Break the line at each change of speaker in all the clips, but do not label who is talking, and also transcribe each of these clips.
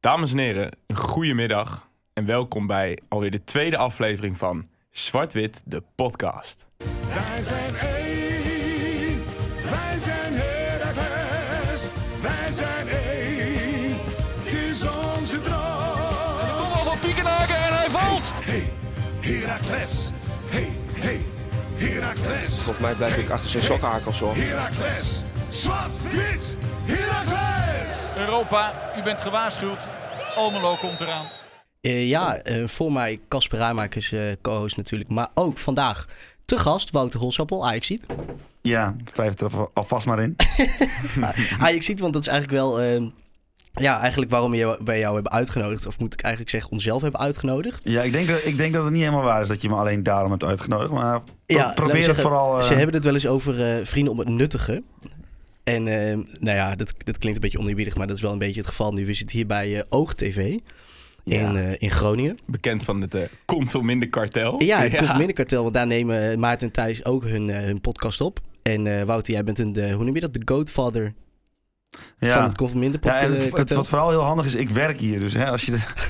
Dames en heren, een goede middag en welkom bij alweer de tweede aflevering van Zwart-Wit, de podcast.
Wij zijn één, wij zijn Heracles, wij zijn één, het is onze droom.
Kom van Piekenhaken en hij valt.
Hey, Heracles, hey, hey, Heracles,
Volgens mij blijf ik achter zijn sokkenhakels hoor.
Heracles, zwart, wit, Heracles.
Europa, u bent gewaarschuwd. Almelo komt eraan.
Eh, ja, eh, voor mij Casper Rijmakers, eh, co-host natuurlijk. Maar ook vandaag te gast Wouter Holsappel, Ajaxiet.
Mhm. Ja, vijf er alvast maar in.
Ajaxiet, want dat is eigenlijk wel... ehm, ja, eigenlijk waarom we jou, bij jou hebben uitgenodigd. Of moet ik eigenlijk zeggen, onszelf hebben uitgenodigd.
Ja, ik denk, dat, ik denk dat het niet helemaal waar is dat je me alleen daarom hebt uitgenodigd. Maar pro-
laten we
probeer het
zeggen,
vooral... eh,
Ze hebben het wel eens over eh, vrienden om het nuttige. En ehm, nou ja, dat, dat klinkt een beetje oneerbiedig, maar dat is wel een beetje het geval. Nu, we zitten hier bij eh, Oog TV in, eh, in Groningen.
Bekend van het eh Komt Veel Minder kartel.
Ja, het Consumentenkartel, want daar nemen eh, Maarten en Thijs ook hun, eh, hun podcast op. En eh, Wouter, jij bent een, de, hoe noem je dat, de goatfather
ja.
van het eh, Conforminder
ja, en het- het-
kartel.
wat vooral heel handig is, ik werk hier. Dus hè, als je... de-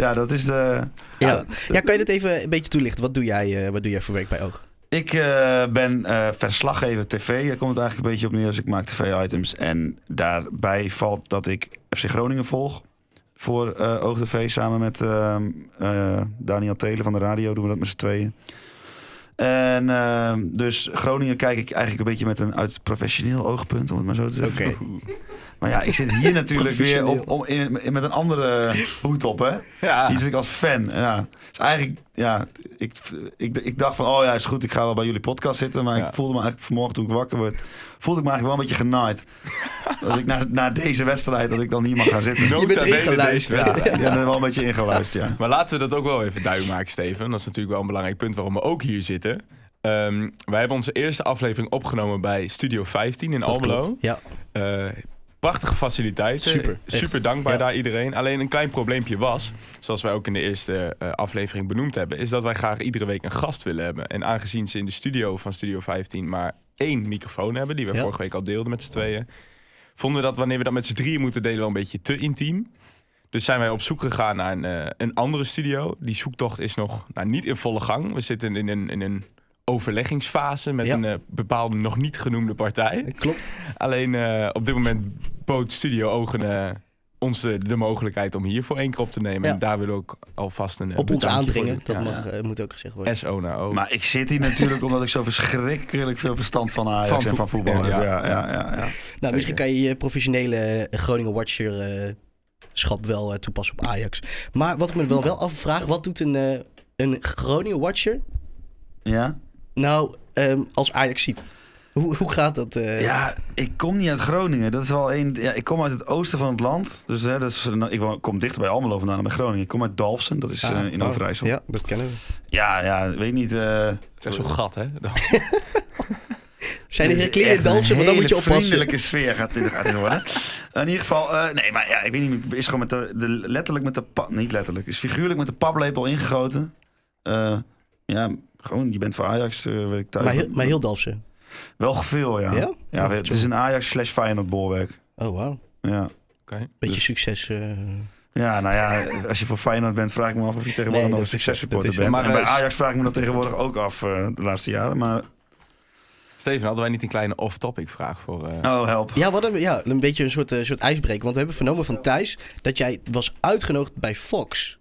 ja, dat is de...
ja. ja, kan je dat even een beetje toelichten? Wat doe jij, eh, wat doe jij voor werk bij Oog?
Ik eh, ben eh, verslaggever tv. Daar komt het eigenlijk een beetje op neer. Dus ik maak tv-items. En daarbij valt dat ik FC Groningen volg. Voor eh Oog TV samen met ehm, eh, Daniel Telen van de radio doen we dat met z'n tweeën. En ehm, dus Groningen kijk ik eigenlijk een beetje met een uit professioneel oogpunt, om het maar zo te zeggen.
Oké.
Maar ja, ik zit hier natuurlijk weer
Professioneel.
op, om- in, in- met een andere hoed op, hè?
Ja.
Hier zit ik als fan. Ja. Dus eigenlijk, ja, ik, ik, ik dacht van, oh ja, is goed, ik ga wel bij jullie podcast zitten. Maar
Ja.
ik voelde me eigenlijk vanmorgen toen ik wakker werd, voelde ik me eigenlijk wel een beetje genaaid. dat ik na, na deze wedstrijd, dat ik dan hier mag gaan zitten.
Nota
bent
bene
ingeluisterd.
deze
Ja,
wedstrijd.
ik ben er wel een beetje ingeluisterd, ja.
Maar laten we dat ook wel even duidelijk maken, Steven. Dat is natuurlijk wel een belangrijk punt waarom we ook hier zitten. Ehm, wij hebben onze eerste aflevering opgenomen bij Studio 15 in
Dat
Almelo.
klopt. Ja,
Eh, prachtige faciliteiten.
Super,
Super
echt.
dankbaar
Ja.
daar iedereen. Alleen een klein probleempje was, zoals wij ook in de eerste eh, aflevering benoemd hebben, is dat wij graag iedere week een gast willen hebben. En aangezien ze in de studio van Studio 15 maar één microfoon hebben, die we
Ja.
vorige week al deelden met z'n tweeën, vonden we dat wanneer we dat met z'n drieën moeten delen wel een beetje te intiem. Dus zijn wij op zoek gegaan naar een, eh, een andere studio. Die zoektocht is nog nou, niet in volle gang. We zitten in een, in een overleggingsfase met
Ja.
een eh, bepaalde nog niet genoemde partij.
klopt.
Alleen eh, op dit moment bood Studio Ogen eh, ons de, de mogelijkheid om hier voor één keer op te nemen.
Ja.
En daar willen we ook alvast een eh,
Op ons
bedankje
aandringen,
voor
dat
doen.
mag, eh, moet ook gezegd
Ja.
worden.
SO naar O.
Maar ik zit hier natuurlijk omdat ik zo verschrikkelijk veel verstand van Ajax
Van
en van
voet-
voetbal heb.
ja,
Ja,
ja.
ja, ja, ja.
nou, misschien kan je je professionele Groningen Watcher... eh, schap wel eh, toepassen op Ajax. Maar wat ik me wel, wel afvraag, wat doet een, eh, een Groningen Watcher
Ja?
Nou, ehm, als Ajax ziet. Hoe, hoe gaat dat? eh?
Ja, ik kom niet uit Groningen. Dat is wel een. Ja, ik kom uit het oosten van het land. Dus hè, dat is, nou, ik wo- kom dichter bij Almelo vandaan dan bij Groningen. Ik kom uit Dalfsen, dat is eh, in
oh,
Overijssel. ja.
Ja, dat kennen we.
ja, weet niet. eh,
Het is zo'n gat, hè?
Zijn er
dit is
Heracles
echt
en Dalfsen?
een
Want dan moet je
hele
oppassen.
vriendelijke sfeer gaat dit gaat in worden. in ieder geval, eh, nee, maar ja, ik weet niet. Is gewoon met de, de letterlijk met de pa- niet letterlijk, is figuurlijk met de paplepel ingegoten. Eh, ja, gewoon. Je bent voor Ajax, eh, weet ik thuis.
Maar heel, maar heel Dalfsen.
wel veel, ja.
Ja?
Ja, het is een Ajax slash Feyenoord bolwerk.
Oh, wauw.
Ja.
Beetje
Dus-
succes. eh.
Ja, nou ja, als je voor Feyenoord bent, vraag ik me af of je tegenwoordig
Nee,
nog een
dat is-
successupporter
dat is-
bent.
maar
Maar bij
wij-
Ajax vraag ik me dat tegenwoordig ook af eh, de laatste jaren. Maar
Steven, hadden wij niet een kleine off-topic vraag voor... eh,
oh, help.
Ja, wat een, ja, een beetje een soort, eh, soort ijsbreker. Want we hebben vernomen van Thijs dat jij was uitgenodigd bij Fox.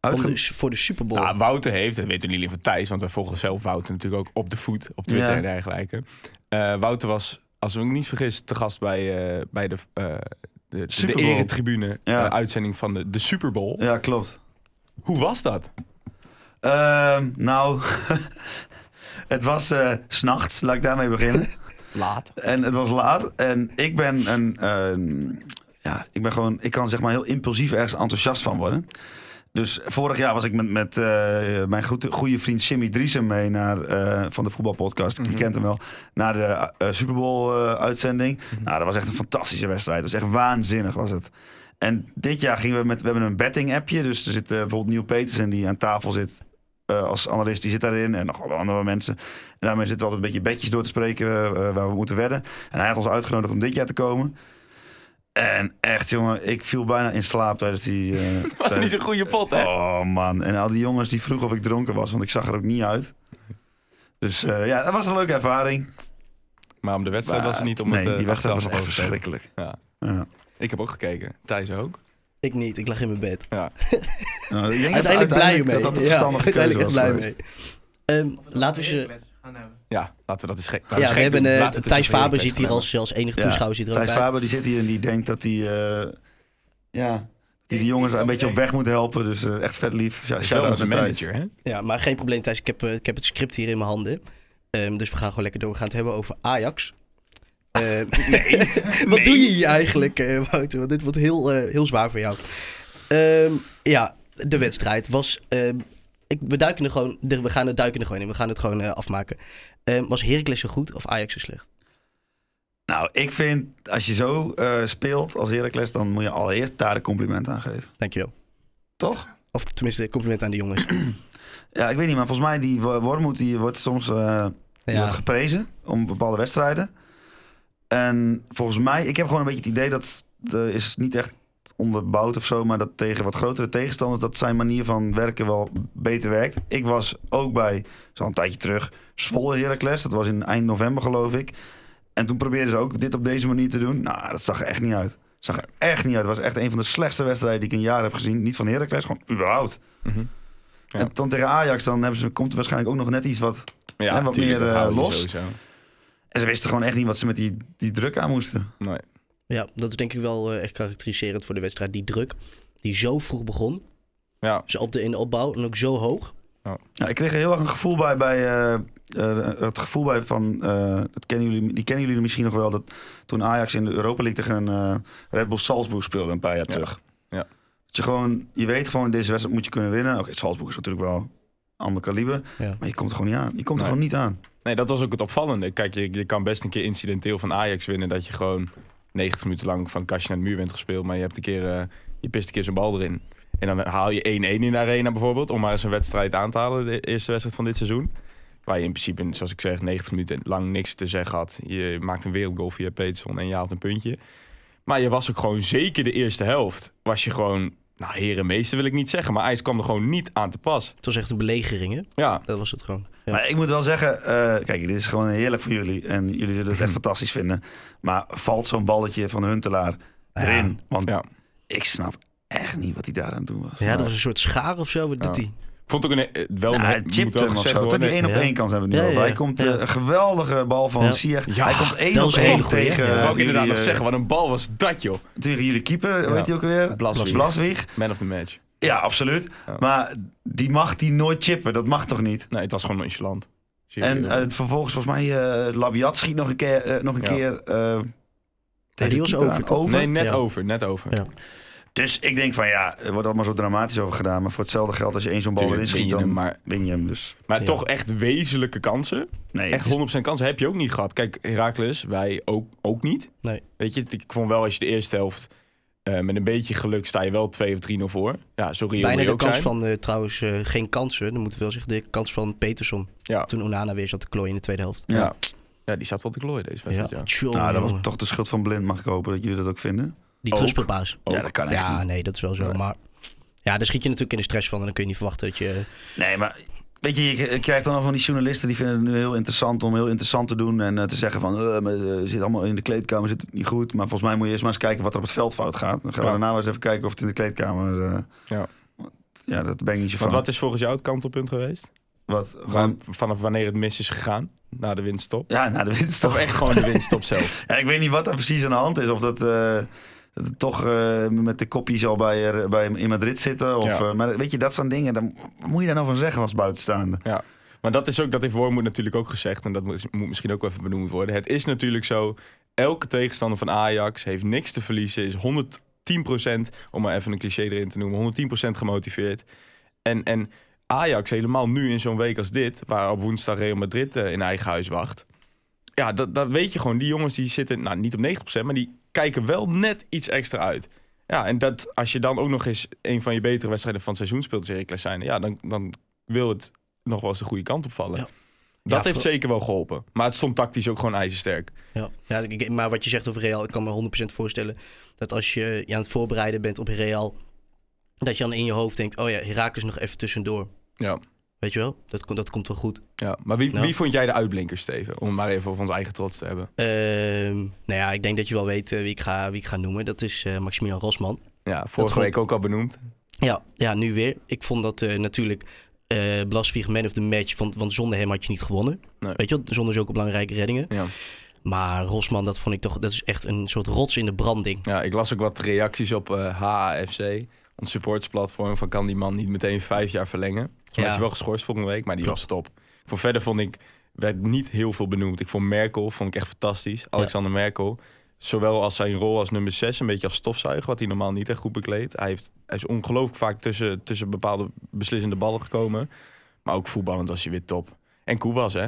om
Uitge-
de- voor de Super Bowl.
Nou, Wouter heeft, dat weten jullie van Thijs, want wij volgen zelf Wouter natuurlijk ook op de voet, op Twitter
Ja.
en dergelijke. Eh, Wouter was, als ik me niet vergis, te gast bij, eh, bij de, eh de, de,
Super Bowl.
eretribune
Ja.
eh, uitzending van de, de Super Bowl.
Ja, klopt.
Hoe was dat?
Ehm, nou, het was eh, s s'nachts, laat ik daarmee beginnen.
Laat.
En het was laat. En ik ben een. ehm, ja, ik ben gewoon. Ik kan zeg maar heel impulsief ergens enthousiast van worden. Dus vorig jaar was ik met, met eh, mijn goede, goede vriend Simmy Driesen mee naar, eh, van de voetbalpodcast.
Mhm.
Je kent hem wel. Naar de eh, Super Bowl eh, uitzending.
Mhm.
Nou, dat was echt een fantastische wedstrijd. Dat was echt waanzinnig was het. En dit jaar gingen we met. We hebben een betting appje. Dus er zit eh, bijvoorbeeld Neil Petersen die aan tafel zit. eh, als analist, die zit daarin. En nog wel andere mensen. En daarmee zitten eh, we altijd een beetje bedjes door te spreken eh, waar we moeten wedden. En hij had ons uitgenodigd om dit jaar te komen. En echt, jongen, ik viel bijna in slaap tijdens die... eh,
was
tijdens-
niet zo'n goede pot, hè?
Oh man, en al die jongens die vroegen of ik dronken was, want ik zag er ook niet uit. Dus eh, ja, dat was een leuke ervaring.
Maar om de wedstrijd was het niet om
nee,
het eh,
die wedstrijd was
achteraf
echt
nog over te hebben.
verschrikkelijk.
Ja.
Ja.
Ik heb ook gekeken. Thijs ook.
Ik niet, ik lag in mijn bed.
Ja.
Nou, ik denk dat
Uiteindelijk blij mee.
Dat dat een
Ja,
verstandige keuze
uiteindelijk
was
blij
geweest.
mee. Ehm, laten we ze...
ja, laten we dat eens gek. laten
Ja,
eens
we
gek
hebben
doen.
eh,
Laten we het eens
Thijs
over
Faber
Heracles
zit hier
gaan
als, als enige
Ja,
toeschouwer zit er ook
Thijs
bij.
Faber die zit hier en die denkt dat hij eh, ja, die, die jongens een beetje op weg moet helpen. Dus eh, echt vet lief. Ja,
hebben.
Shout-out
Wel een
naar Thijs.
manager, hè?
Ja, maar geen probleem Thijs, ik heb, eh, ik heb het script hier in mijn handen. Ehm, dus we gaan gewoon lekker door. We gaan het hebben over Ajax. Ehm, Wat doe je hier eigenlijk, eh, Wouter? Want dit wordt heel, eh, heel zwaar voor jou. Ehm, ja, de wedstrijd was... ehm, ik, we, duiken er gewoon, de- we gaan het duiken er gewoon in. We gaan het gewoon eh, afmaken. Ehm, was Heracles zo goed of Ajax zo slecht?
Nou, ik vind als je zo eh, speelt als Heracles, dan moet je allereerst daar een compliment aan geven.
Dankjewel.
Toch?
Of tenminste, compliment aan de jongens.
Ja, ik weet niet, maar volgens mij die Wo- Wormoed die wordt soms eh, die
Ja.
wordt geprezen om bepaalde wedstrijden. En volgens mij, ik heb gewoon een beetje het idee dat eh, is niet echt onderbouwd of zo, maar dat tegen wat grotere tegenstanders dat zijn manier van werken wel beter werkt. Ik was ook bij zo'n tijdje terug Zwolle Heracles, dat was in eind november geloof ik. En toen probeerden ze ook dit op deze manier te doen. Nou, dat zag er echt niet uit. Zag er echt niet uit. Het was echt een van de slechtste wedstrijden die ik in jaren heb gezien. Niet van Heracles, gewoon überhaupt.
Mhm. Ja.
En dan tegen Ajax, dan hebben ze, komt er waarschijnlijk ook nog net iets wat...
Ja,
En wat
tuurlijk,
meer,
dat houden
eh,
we
los.
sowieso.
En ze wisten gewoon echt niet wat ze met die, die druk aan moesten.
Nee.
Ja, dat is denk ik wel eh, echt karakteriserend voor de wedstrijd. Die druk die zo vroeg begon.
Ja.
Zo op de, in de opbouw en ook zo hoog.
Ja, ik kreeg er heel erg een gevoel bij, bij eh, eh, het gevoel bij van, eh, dat kennen jullie, die kennen jullie misschien nog wel, dat toen Ajax in de Europa League tegen eh, Red Bull Salzburg speelde een paar jaar terug.
Ja.
Dat je gewoon, je weet gewoon, deze wedstrijd moet je kunnen winnen. Oké, Salzburg is natuurlijk wel ander kaliber,
Ja.
maar je komt er gewoon niet aan. Je komt er
Nee.
gewoon niet aan.
Nee, dat was ook het opvallende. Kijk, je, je kan best een keer incidenteel van Ajax winnen. Dat je gewoon 90 minuten lang van kastje naar de muur bent gespeeld. Maar je, hebt een keer, eh, je pist een keer zo'n bal erin. En dan haal je 1-1 in de arena bijvoorbeeld. Om maar eens een wedstrijd aan te halen. De eerste wedstrijd van dit seizoen. Waar je in principe, zoals ik zeg, 90 minuten lang niks te zeggen had. Je maakt een wereldgoal via Peterson en je haalt een puntje. Maar je was ook gewoon zeker de eerste helft. Was je gewoon, nou herenmeester wil ik niet zeggen. Maar IJs kwam er gewoon niet aan te pas.
Het was echt een belegering, hè?
Ja,
Dat was het gewoon. Ja.
Maar ik moet wel zeggen, eh, kijk, dit is gewoon heerlijk voor jullie. En jullie zullen het echt fantastisch vinden. Maar valt zo'n balletje van Huntelaar
Nou
erin? Want
Ja.
ik snap echt niet wat hij daar aan het doen was.
Ja, dat was een soort schaar of zo. Wat
Oh.
doet
Ja.
hij?
ik vond ook een, eh, wel
Nou,
een
hij
moet
chipt
wel
hem of
gezegd
zo. Toch
worden.
die één op
Ja.
één kans hebben we nu
Ja,
over.
ja,
Hij komt
ja.
eh, een geweldige bal van
Ja.
Sier.
Ja,
hij komt één
dat
op
is een hele
één
goeie,
tegen,
Dat
ja. Eh,
eh,
wou ik inderdaad
jullie,
nog
eh,
zeggen. Wat een bal was dat, joh.
tegen jullie keeper,
Ja.
weet je ook weer?
Blaswijk.
Blaswijk.
Man of the match.
Ja, absoluut.
Ja.
Maar die mag die nooit chippen. Dat mag toch niet?
Nee, het was gewoon nonchalant. Zie je
En
wel.
eh, vervolgens volgens mij eh, Labiat schiet nog een keer, eh, nog een
Ja.
keer eh, tegen
die was
keeper
over,
aan. Oh,
toch?
nee, net
Ja.
over. Net over.
Ja.
Dus ik denk van ja, er wordt allemaal zo dramatisch over gedaan. Maar voor hetzelfde geld als je één zo'n bal erin
Tuurlijk,
schiet,
win je hem,
dan
maar
win je hem. Dus
maar
Ja.
toch echt wezenlijke kansen.
nee, het
Echt
is-
100% kansen heb je ook niet gehad. Kijk, Heracles, wij ook, ook niet.
Nee.
Weet je, ik vond wel als je de eerste helft... eh, met een beetje geluk sta je wel 2 of 3-0 voor. Ja, sorry,
Bijna
je
de
ook
kans
zijn.
van, eh, trouwens, eh, geen kansen. Dan moeten we wel zeggen, de kans van Peterson.
Ja.
Toen Onana weer zat te klooien in de tweede helft.
Ja. Ja. die zat wel te klooien deze wedstrijd. Ja.
Tjonge,
Nou, dat was
jonge.
toch de schuld van Blind, mag ik hopen dat jullie dat ook vinden.
Die
ook.
trustpapa's.
Ook.
Ja, Oh, dat kan echt niet.
Ja, nee, dat is wel zo.
Ja.
Maar ja, daar schiet je natuurlijk in de stress van. En dan kun je niet verwachten dat je... eh,
Nee, maar weet je, je k- krijgt dan al van die journalisten die vinden het nu heel interessant om heel interessant te doen en eh, te zeggen van, eh, maar, eh, zit allemaal in de kleedkamer, zit het niet goed. Maar volgens mij moet je eerst maar eens kijken wat er op het veld fout gaat. Dan gaan we
Ja.
daarna wel eens even kijken of het in de kleedkamer. eh,
Ja.
want, ja, dat ben ik niet zo van.
Want wat is volgens jou het kantelpunt geweest?
Wat?
Waar-
Gewoon.
vanaf wanneer het mis is gegaan? Na de winststop?
Ja, nou, de winst
Toch
toch.
echt gewoon de winststop zelf.
Ja, ik weet niet wat daar precies aan de hand is. Of dat, eh, dat het toch eh, met de kopjes al bij, er- bij in Madrid zitten. Of,
Ja.
eh, maar weet je, dat soort dingen. Dan, wat moet je daar nou van zeggen als buitenstaande?
Ja. Maar dat is ook, dat heeft Wormoed natuurlijk ook gezegd. En dat moet moet misschien ook wel even benoemd worden. Het is natuurlijk zo. Elke tegenstander van Ajax heeft niks te verliezen. Is 110%, om maar even een cliché erin te noemen, 110% gemotiveerd. En, en Ajax helemaal nu in zo'n week als dit, waar op woensdag Real Madrid eh, in eigen huis wacht. Ja, dat, dat weet je gewoon. Die jongens die zitten, nou niet op 90%, maar die kijken wel net iets extra uit. Ja, en dat als je dan ook nog eens een van je betere wedstrijden van het seizoen speelt, als Heracles zijn, ja, dan, dan wil het nog wel eens de goede kant opvallen.
Ja.
Dat
Ja,
heeft
voor-
zeker wel geholpen. Maar het stond tactisch ook gewoon ijzersterk.
Ja. Ja, ik- maar wat je zegt over Real, ik kan me 100% voorstellen dat als je je aan het voorbereiden bent op Real, dat je dan in je hoofd denkt, oh ja, Herakles nog even tussendoor.
Ja.
Weet je wel? Dat, komt- dat komt wel goed.
Ja, maar wie,
Nou.
wie vond jij de uitblinker, Steven? Om het maar even over ons eigen trots te hebben.
Ehm, nou ja, ik denk dat je wel weet eh, wie, ik ga, wie ik ga noemen. Dat is eh, Maximilian Rosman.
Ja, vorige
vond-
week ook al benoemd.
Ja, ja, nu weer. Ik vond dat eh, natuurlijk eh Blasvig man of the match, want, want zonder hem had je niet gewonnen.
Nee.
Weet je wel, zonder zulke belangrijke reddingen.
Ja.
Maar Rosman, dat vond ik toch, dat is echt een soort rots in de branding.
ja, ik las ook wat reacties op eh HAFC. Ons supportsplatform van kan die man niet meteen vijf jaar verlengen. Volgens mij
Ja.
is hij wel geschorst volgende week, maar die
Klopt.
was top. Voor verder vond ik, werd niet heel veel benoemd. Ik vond Merkel vond ik echt fantastisch. Alexander Merkel. Zowel als zijn rol als nummer 6, een beetje als stofzuiger, wat hij normaal niet echt goed bekleedt. Hij, heeft, hij is ongelooflijk vaak tussen, tussen bepaalde beslissende ballen gekomen. Maar ook voetballend was hij weer top. En Koe was, hè?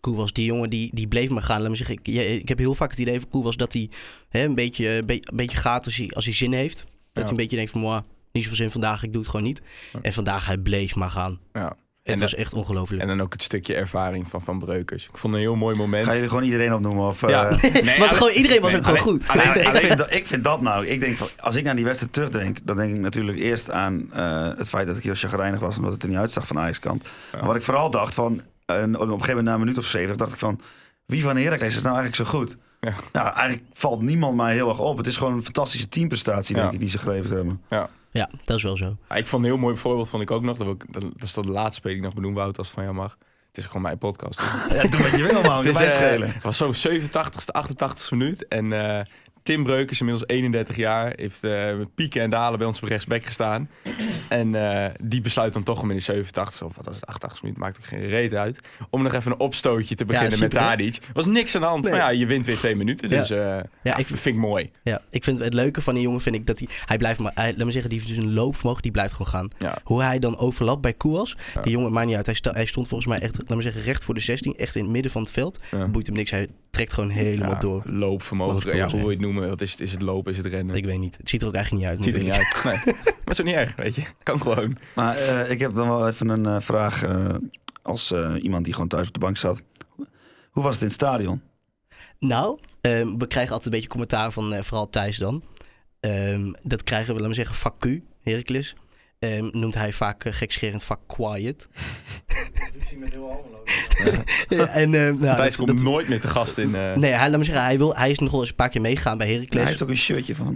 Koe was die jongen die, die bleef maar gaan. Laat me zeggen, ik, ja, ik heb heel vaak het idee van Koe was dat hij hè, een, beetje, eh, be- een beetje gaat als hij, als hij zin heeft. Dat hij een beetje denkt van, "Mwah, niet zoveel zin vandaag, ik doe het gewoon niet. En vandaag, hij bleef maar gaan.
Ja.
Het
En
was echt ongelooflijk.
En dan ook het stukje ervaring van Van Breukers. Ik vond een heel mooi moment.
Ga je er gewoon iedereen op noemen? Of, eh,
Ja. Nee,
Want
alleen-
gewoon iedereen was
nee,
ook gewoon
alleen-
goed.
Nou, ik, vind dat, ik vind dat nou. Ik denk van, als ik naar die wedstrijd terugdenk, dan denk ik natuurlijk eerst aan eh, het feit dat ik heel chagrijnig was, omdat het er niet uitzag van Ajax kant. Maar wat ik vooral dacht van, en op een gegeven moment na een minuut of zeven, dacht ik van, wie van Heracles is nou eigenlijk zo goed?
Ja.
Nou, eigenlijk valt niemand mij heel erg op. Het is gewoon een fantastische teamprestatie, denk
Ja.
ik, die ze geleverd hebben.
Ja.
Ja, dat is wel zo.
Ja, ik vond een heel mooi voorbeeld, vond ik ook nog. Dat, wil ik- dat, dat is dan de laatste speling nog benoemd, Wout, als het van jou mag. Het is gewoon mijn podcast.
Ja, doe wat je wil, man.
Het
Dit
is,
is het
eh,
schelen.
Het was zo'n 87ste, 88ste minuut. En eh, Tim Breuk is inmiddels 31 jaar. Heeft eh, met pieken en dalen bij ons op rechtsback gestaan. En eh, die besluit dan toch om in de 87ste, of wat was het, 88ste minuut, maakt ook geen reet uit. Om nog even een opstootje te beginnen met
super, hè?
Tadic. Er was niks aan de hand.
Nee.
Maar ja, je wint weer twee minuten.
Ja.
Dus eh, ja.
ik-
vind ik mooi.
Ja, ik vind het leuke van die jongen vind ik dat hij, hij blijft maar, hij- laat me zeggen, die heeft dus een loopvermogen, die blijft gewoon gaan.
Ja.
Hoe hij dan overlapt bij Koewas, die jongen, maakt niet uit, hij, sta- hij stond volgens mij echt, laat me zeggen, recht voor de 16, echt in het midden van het veld.
Ja.
Boeit hem niks, hij trekt gewoon helemaal
Ja,
door. Wat
Loopvermogen.
het
Ja,
kan
hoe wil je het noemen? Wat is, het, is het lopen? Is het rennen?
Ik weet niet, het ziet er ook eigenlijk niet uit.
Het ziet er niet uit.
natuurlijk.
Nee. Maar het is ook niet erg, weet je. Kan gewoon.
Maar eh, ik heb dan wel even een eh, vraag eh, als eh, iemand die gewoon thuis op de bank zat. Hoe was het in het stadion?
Nou, ehm, we krijgen altijd een beetje commentaar van eh, vooral Thijs dan. Ehm, dat krijgen we, laat me zeggen, vacu, Heracles. Ehm, noemt hij vaak eh, gekscherend vak quiet. Ja, en, ehm, nou,
Thijs
dat-
komt
dat-
nooit meer te gast in... eh,
Nee, hij, laat me zeggen, hij, wil, hij is nog wel eens een paar keer meegaan bij Heracles.
Hij heeft ook een shirtje van...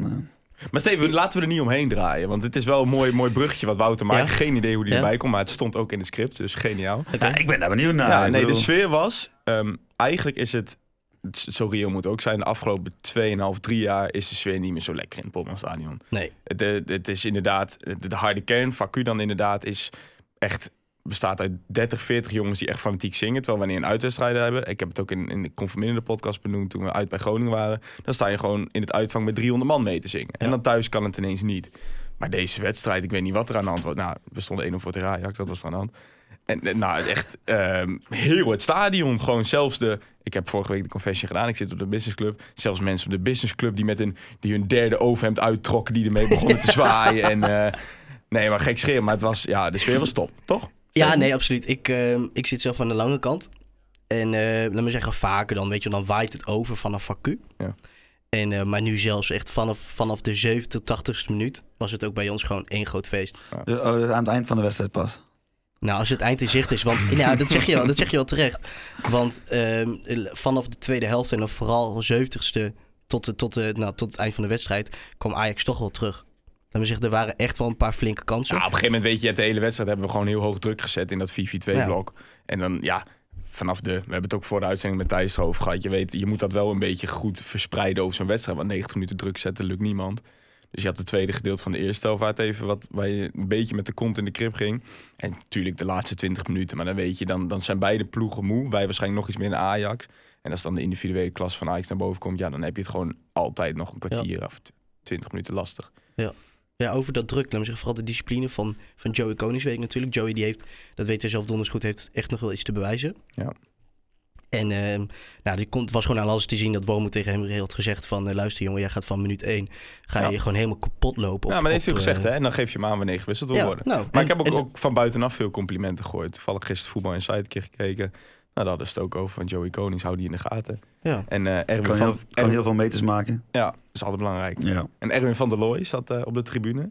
eh,
Maar Steven, laten we er niet omheen draaien. Want het is wel een mooi, mooi bruggetje wat Wouter maakt.
Ja.
Geen idee hoe die
Ja.
erbij komt, maar het stond ook in het script. Dus geniaal.
Ja, dus ik ben daar benieuwd naar.
ja,
Ik
nee,
bedoel-
de sfeer was... ehm, eigenlijk is het... het is- Zo reëel moet het ook zijn. De afgelopen 2,5, 3 jaar is de sfeer niet meer zo lekker in het Polmanstadion.
Nee.
Het, eh, het is inderdaad... De, de harde kern, vacu dan inderdaad, is echt bestaat uit 30, 40 jongens die echt fanatiek zingen. Terwijl wanneer een uitwedstrijd hebben... Ik heb het ook in, in de Conformerende podcast benoemd toen we uit bij Groningen waren. Dan sta je gewoon in het uitvang met 300 man mee te zingen. En
Ja.
dan thuis kan het ineens niet. Maar deze wedstrijd, ik weet niet wat er aan de hand was. Nou, we stonden 1-0 voor de Ajax, dat was er aan de hand. En eh, nou, echt ehm, heel het stadion. Gewoon zelfs de... Ik heb vorige week de confession gedaan. Ik zit op de businessclub. Zelfs mensen op de businessclub die, met hun, die hun derde overhemd uittrokken... die ermee begonnen te zwaaien. En, eh, nee, maar gek schreeuwen. Maar het was, ja, de sfeer was top, toch?
Ja, nee, absoluut. Ik, ehm, ik zit zelf aan de lange kant. En eh, laat me zeggen, vaker dan, weet je, wel, dan waait het over vanaf vacu.
Ja.
En, eh, maar nu zelfs echt vanaf, vanaf de 7 tot 80ste minuut was het ook bij ons gewoon één groot feest.
Oh, dat is aan het eind van de wedstrijd pas.
Nou, als het eind in zicht is, want nou, dat, zeg je wel, dat zeg je wel terecht. Want ehm, vanaf de tweede helft en dan vooral 70ste tot, de- tot, de- nou, tot het eind van de wedstrijd kwam Ajax toch wel terug. Laat me zeggen, er waren echt wel een paar flinke
Ja,
kansen.
op een gegeven moment weet je, je hebt de hele wedstrijd hebben we gewoon heel hoog druk gezet in dat 4-4-2-blok. En dan, ja, vanaf de... We hebben het ook voor de uitzending met Thijs erover gehad. Je weet, je moet dat wel een beetje goed verspreiden over zo'n wedstrijd. Want 90 minuten druk zetten lukt niemand. Dus je had het tweede gedeelte van de eerste helft waar het even wat, waar je een beetje met de kont in de krip ging. En natuurlijk de laatste 20 minuten, maar dan weet je, dan, dan zijn beide ploegen moe. Wij waarschijnlijk nog iets meer naar Ajax. En als dan de individuele klas van Ajax naar boven komt, ja, dan heb je het gewoon altijd nog een kwartier of tw- 20 minuten lastig.
Ja, over dat druk, laat me zeggen, vooral de discipline van, van Joey Koningsweek natuurlijk. Joey die heeft, dat weet hij zelf donders goed, heeft echt nog wel iets te bewijzen.
Ja.
En ehm, nou, die komt, was gewoon aan alles te zien dat Womo tegen hem heel had gezegd van... eh, luister jongen, jij gaat van minuut 1, ga
Ja.
je gewoon helemaal kapot lopen. Op,
ja, maar dat heeft u
op,
gezegd,
eh,
hè? En dan geef je hem aan wanneer gewisseld wil
Ja,
worden.
nou,
Maar
en-
ik heb ook,
en-
ook van buitenaf veel complimenten gehoord. Toevallig gisteren voetbal Inside een keer gekeken. Nou, daar hadden ze het ook over. Van Joey Konings, hou die in de gaten.
Ja.
En eh Erwin
Kan
van...
heel, kan
Erwin-
heel veel meters maken.
Ja, dat is altijd belangrijk.
Ja.
En Erwin van der Looy zat eh, op de tribune.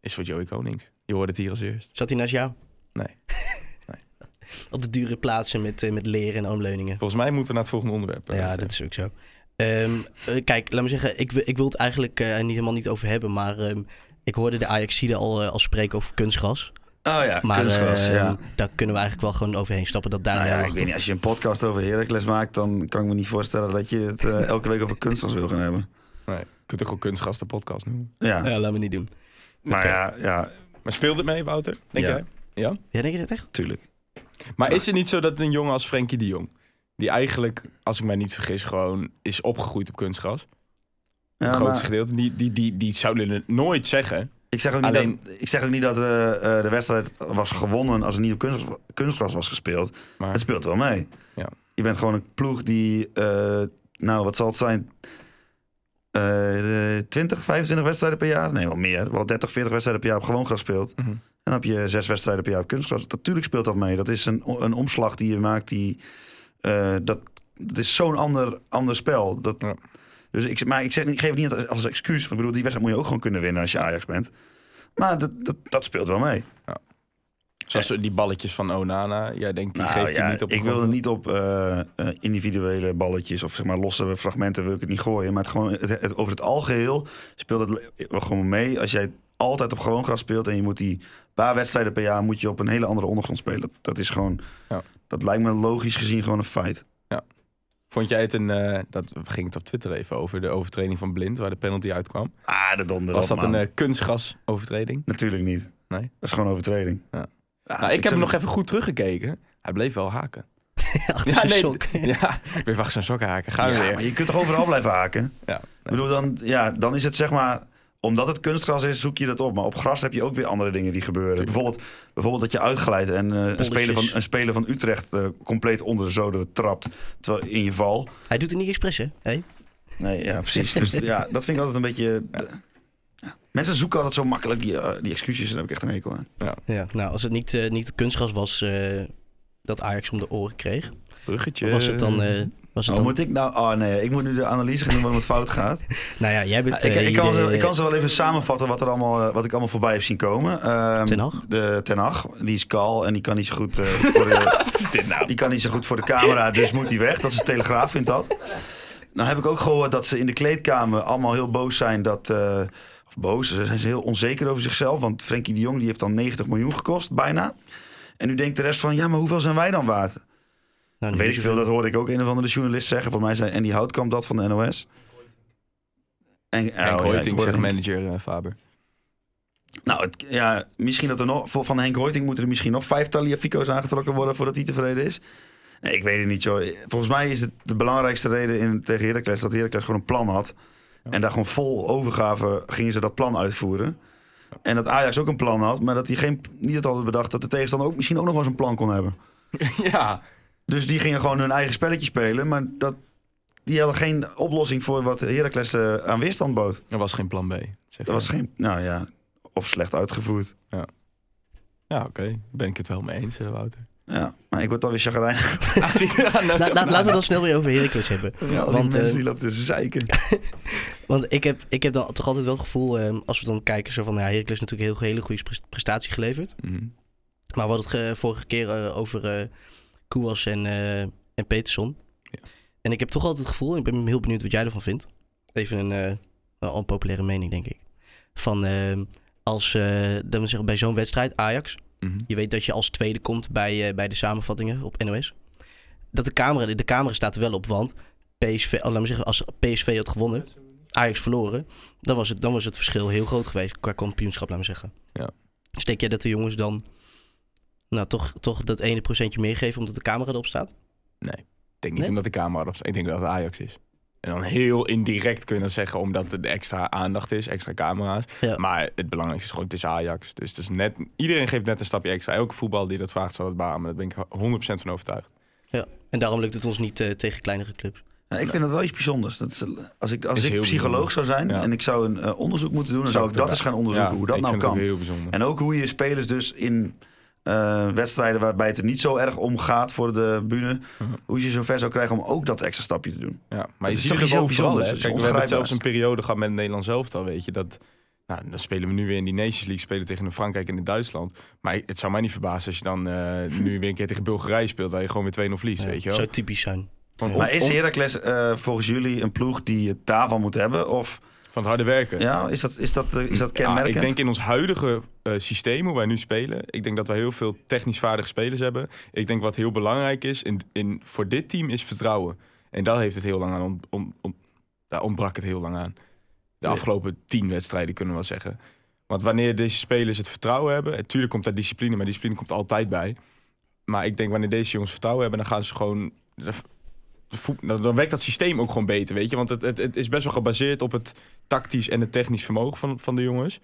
Is voor Joey Konings. Je hoorde het hier als eerst.
Zat hij naast jou?
Nee.
Op de dure plaatsen met, eh, met leren en armleuningen.
Volgens mij moeten we naar het volgende onderwerp. eh,
Ja,
gaan.
dat is ook zo. Ehm, eh, kijk, laat me zeggen, ik, wi- ik wil het eigenlijk eh, niet helemaal niet over hebben, maar ehm, ik hoorde de Ajaxide al, eh, al spreken over kunstgras.
Oh ja,
Maar
kunstgras.
ehm,
ja.
daar kunnen we eigenlijk wel gewoon overheen stappen. Dat daar
Nou ja,
nodig
ik weet
is.
niet, als je een podcast over Heracles maakt, dan kan ik me niet voorstellen dat je het eh, elke week over kunstgras wil gaan hebben.
Nee, je kunt toch ook kunstgast de podcast noemen.
Ja,
Ja, laat me niet doen.
maar ja, ja,
Maar speelt het mee, Wouter? Denk
Ja.
jij? Ja.
Ja, Nou. denk je dat echt?
tuurlijk.
Maar is het niet zo dat een jongen als Frenkie de Jong... die eigenlijk, als ik mij niet vergis, gewoon is opgegroeid op kunstgras...
Ja,
het grootste
maar
gedeelte. Die, die, die, die zouden het nooit zeggen.
ik, zeg ook niet
Alleen-
dat, ik zeg ook niet dat eh, eh, de wedstrijd was gewonnen als het niet op kunstgras, kunstgras was gespeeld.
Maar-
Het speelt wel mee.
Ja.
Je bent gewoon een ploeg die, eh, nou wat zal het zijn, eh, de 20, 25 wedstrijden per jaar? Nee, wel meer. Wel 30, 40 wedstrijden per jaar op gewoon gras speelt.
Mhm.
En dan heb je zes wedstrijden per jaar op kunstgras. Natuurlijk speelt dat mee. Dat is een, een omslag die je maakt die... eh, dat, dat is zo'n ander, ander spel. Dat,
Ja.
dus ik, maar ik, zeg, niet- ik geef het niet als, als excuus. Want ik bedoel, die wedstrijd moet je ook gewoon kunnen winnen als je Ajax bent. Maar dat, dat, dat speelt wel mee.
Zoals die balletjes van Onana. Jij denkt, die
Nou,
geeft hij
ja,
niet op. de
ik wil het
grond.
niet op eh, eh, individuele balletjes of zeg maar losse fragmenten wil ik het niet gooien. Maar het gewoon, het, het- over het algeheel speelt het le- wel gewoon mee. Als jij altijd op gewoon gras speelt en je moet die paar wedstrijden per jaar moet je op een hele andere ondergrond spelen. Dat, dat is gewoon,
Ja.
dat lijkt me logisch gezien gewoon een feit.
Vond jij het een... eh, dat ging het op Twitter even over. De overtreding van Blind, waar de penalty uitkwam.
Ah, de donder.
Was
op,
dat een
man.
eh, kunstgas overtreding?
Natuurlijk niet.
Nee?
Dat is gewoon overtreding.
Ja.
dat
Nou,
vind
ik heb
zo-
hem nog even goed teruggekeken. Hij bleef wel haken.
Achter zijn sok.
Ja, ik bleef achter zijn sokken haken. Gaan we
Ja,
weer.
maar je kunt toch overal blijven haken?
Ja,
Ik bedoel, dan, ja, dan is het zeg maar... Omdat het kunstgras is, zoek je dat op. Maar op gras heb je ook weer andere dingen die gebeuren. Bijvoorbeeld, bijvoorbeeld dat je uitglijdt en eh, een, speler van, een speler van Utrecht eh, compleet onder de zoden trapt terwijl, in je val.
Hij doet het niet expres, hè? Hey?
Nee, ja, precies. dus ja, dat vind ik altijd een beetje... eh, ja. Mensen zoeken altijd zo makkelijk die, eh, die excuses. Daar heb ik echt een hekel aan.
Ja, nou, als het niet, eh, niet kunstgras was eh, dat Ajax om de oren kreeg,
Bruggetje.
was het dan... eh, was het
Oh,
dan...
moet ik nou... Oh nee, ik moet nu de analyse gaan doen waarom het fout gaat.
Nou ja, jij bent...
Ja, ik,
eh,
ik, kan
hier
ze,
de-
ik kan ze wel even samenvatten wat, er allemaal, eh, wat ik allemaal voorbij heb zien komen. Ehm,
Ten Hag?
De Ten Hag. Die is kaal en die kan niet zo goed eh, voor de, Die kan niet zo goed voor de camera, dus moet hij weg. Dat is de Telegraaf, vindt dat. Nou heb ik ook gehoord dat ze in de kleedkamer allemaal heel boos zijn dat... eh, of boos, ze zijn ze heel onzeker over zichzelf. Want Frenkie de Jong die heeft dan 90 miljoen gekost, bijna. En nu denkt de rest van, ja, maar hoeveel zijn wij dan waard?
Nou,
Dat
niet
Weet ik veel, dat hoorde ik ook een of andere journalist zeggen. Volgens mij zei Andy Houtkamp dat van de NOS. En, oh, ja,
Henk
ik
Hoiting,
hoorde
zegt
Henk.
manager eh, Faber.
Nou, het, ja, misschien dat er nog, voor van Henk Hoiting moeten er misschien nog vijf Taliafico's aangetrokken worden voordat hij tevreden is. Nee, ik weet het niet, joh. Volgens mij is het de belangrijkste reden in, tegen Heracles dat Heracles gewoon een plan had. En daar gewoon vol overgave gingen ze dat plan uitvoeren. En dat Ajax ook een plan had, maar dat hij geen, niet het hadden bedacht dat de tegenstander ook misschien ook nog wel eens een plan kon hebben.
ja.
Dus die gingen gewoon hun eigen spelletje spelen, maar dat, die hadden geen oplossing voor wat Heracles eh, aan weerstand bood.
Er was geen plan B. Zeg
Dat was geen, nou ja, of slecht uitgevoerd.
Ja, oké. Ben ik het wel mee eens, eh, Wouter. Ah,
Ja, maar ik word alweer chagrijnig.
nou,
La- la- Nou, laten we dan snel weer over Heracles hebben.
al die
want,
mensen
eh,
die lopen te zeiken.
Want ik heb, ik heb dan toch altijd wel het gevoel, ehm, als we dan kijken, zo van, ja, Heracles heeft natuurlijk een heel, hele goede pres- prestatie geleverd.
Mhm.
Maar we hadden het ge- vorige keer eh, over eh Kouwas en, eh, en Peterson. En ik heb toch altijd het gevoel, en ik ben heel benieuwd wat jij ervan vindt. Even een eh, wel onpopulaire mening, denk ik. Van ehm, als, eh, dat we zeggen, bij zo'n wedstrijd, Ajax,
Mhm.
je weet dat je als tweede komt bij, eh, bij de samenvattingen op NOS. Dat de camera, de camera staat er wel op, want PSV, oh, laat me zeggen, als PSV had gewonnen, Ajax verloren, dan was het, dan was het verschil heel groot geweest qua kampioenschap, laat me zeggen.
Ja.
Dus denk jij dat de jongens dan nou, toch, toch dat ene procentje meegeven omdat de camera erop staat?
Ik denk niet
Nee?
omdat de camera erop staat. Ik denk dat het Ajax is. En dan heel indirect kunnen zeggen omdat er extra aandacht is, extra camera's.
Ja.
Maar het belangrijkste is gewoon, het is Ajax. Dus het is net, iedereen geeft net een stapje extra. Elke voetbal die dat vraagt zal het banen. Daar ben ik 100% van overtuigd.
Ja. En daarom lukt het ons niet eh, tegen kleinere clubs.
Nou, ik vind dat wel iets bijzonders. Dat is, eh, als ik, als
Is
ik
heel
psycholoog zou zijn
Ja.
en ik zou een eh, onderzoek moeten doen... dan zou ik dat eens gaan
erbij.
onderzoeken,
Ja,
hoe dat
ik
nou
vind het
kan.
ook heel bijzonder.
En ook hoe je spelers dus in eh, wedstrijden waarbij het er niet zo erg om gaat voor de bühne.
Mhm.
Hoe je je zover zou krijgen om ook dat extra stapje te doen.
Ja, maar je
is
ziet
toch
het
iets
overal.
heel bijzonders,
hè.
het is
Kijk, we hebben het
ongrijpbaar.
zelfs een periode gehad met Nederland zelf al, weet je. Dat, nou, dan spelen we nu weer in die Nations League, spelen tegen een Frankrijk en een Duitsland. Maar het zou mij niet verbazen als je dan eh, nu weer een keer tegen Bulgarije speelt, dat je gewoon weer 2-0 verliest, weet je wel.
Zou typisch zijn. Nou,
Van,
Maar is Heracles eh, volgens jullie een ploeg die het daarvan moet hebben? Of
van het harde werken.
ja, is dat, is dat, eh, is dat
Ja,
kenmerkend?
ik denk in ons huidige eh, systeem, hoe wij nu spelen, ik denk dat wij heel veel technisch vaardige spelers hebben. Ik denk wat heel belangrijk is in, in, voor dit team is vertrouwen. En daar heeft het heel lang aan ont, ont- ont- daar ontbrak het heel lang aan. De afgelopen tien wedstrijden kunnen we wel zeggen. Want wanneer deze spelers het vertrouwen hebben, natuurlijk komt daar discipline, maar discipline komt altijd bij. Maar ik denk wanneer deze jongens vertrouwen hebben, dan gaan ze gewoon. de voet- Dan dan werkt dat systeem ook gewoon beter, weet je. Want het, het, het is best wel gebaseerd op het tactisch en het technisch vermogen van, van de jongens.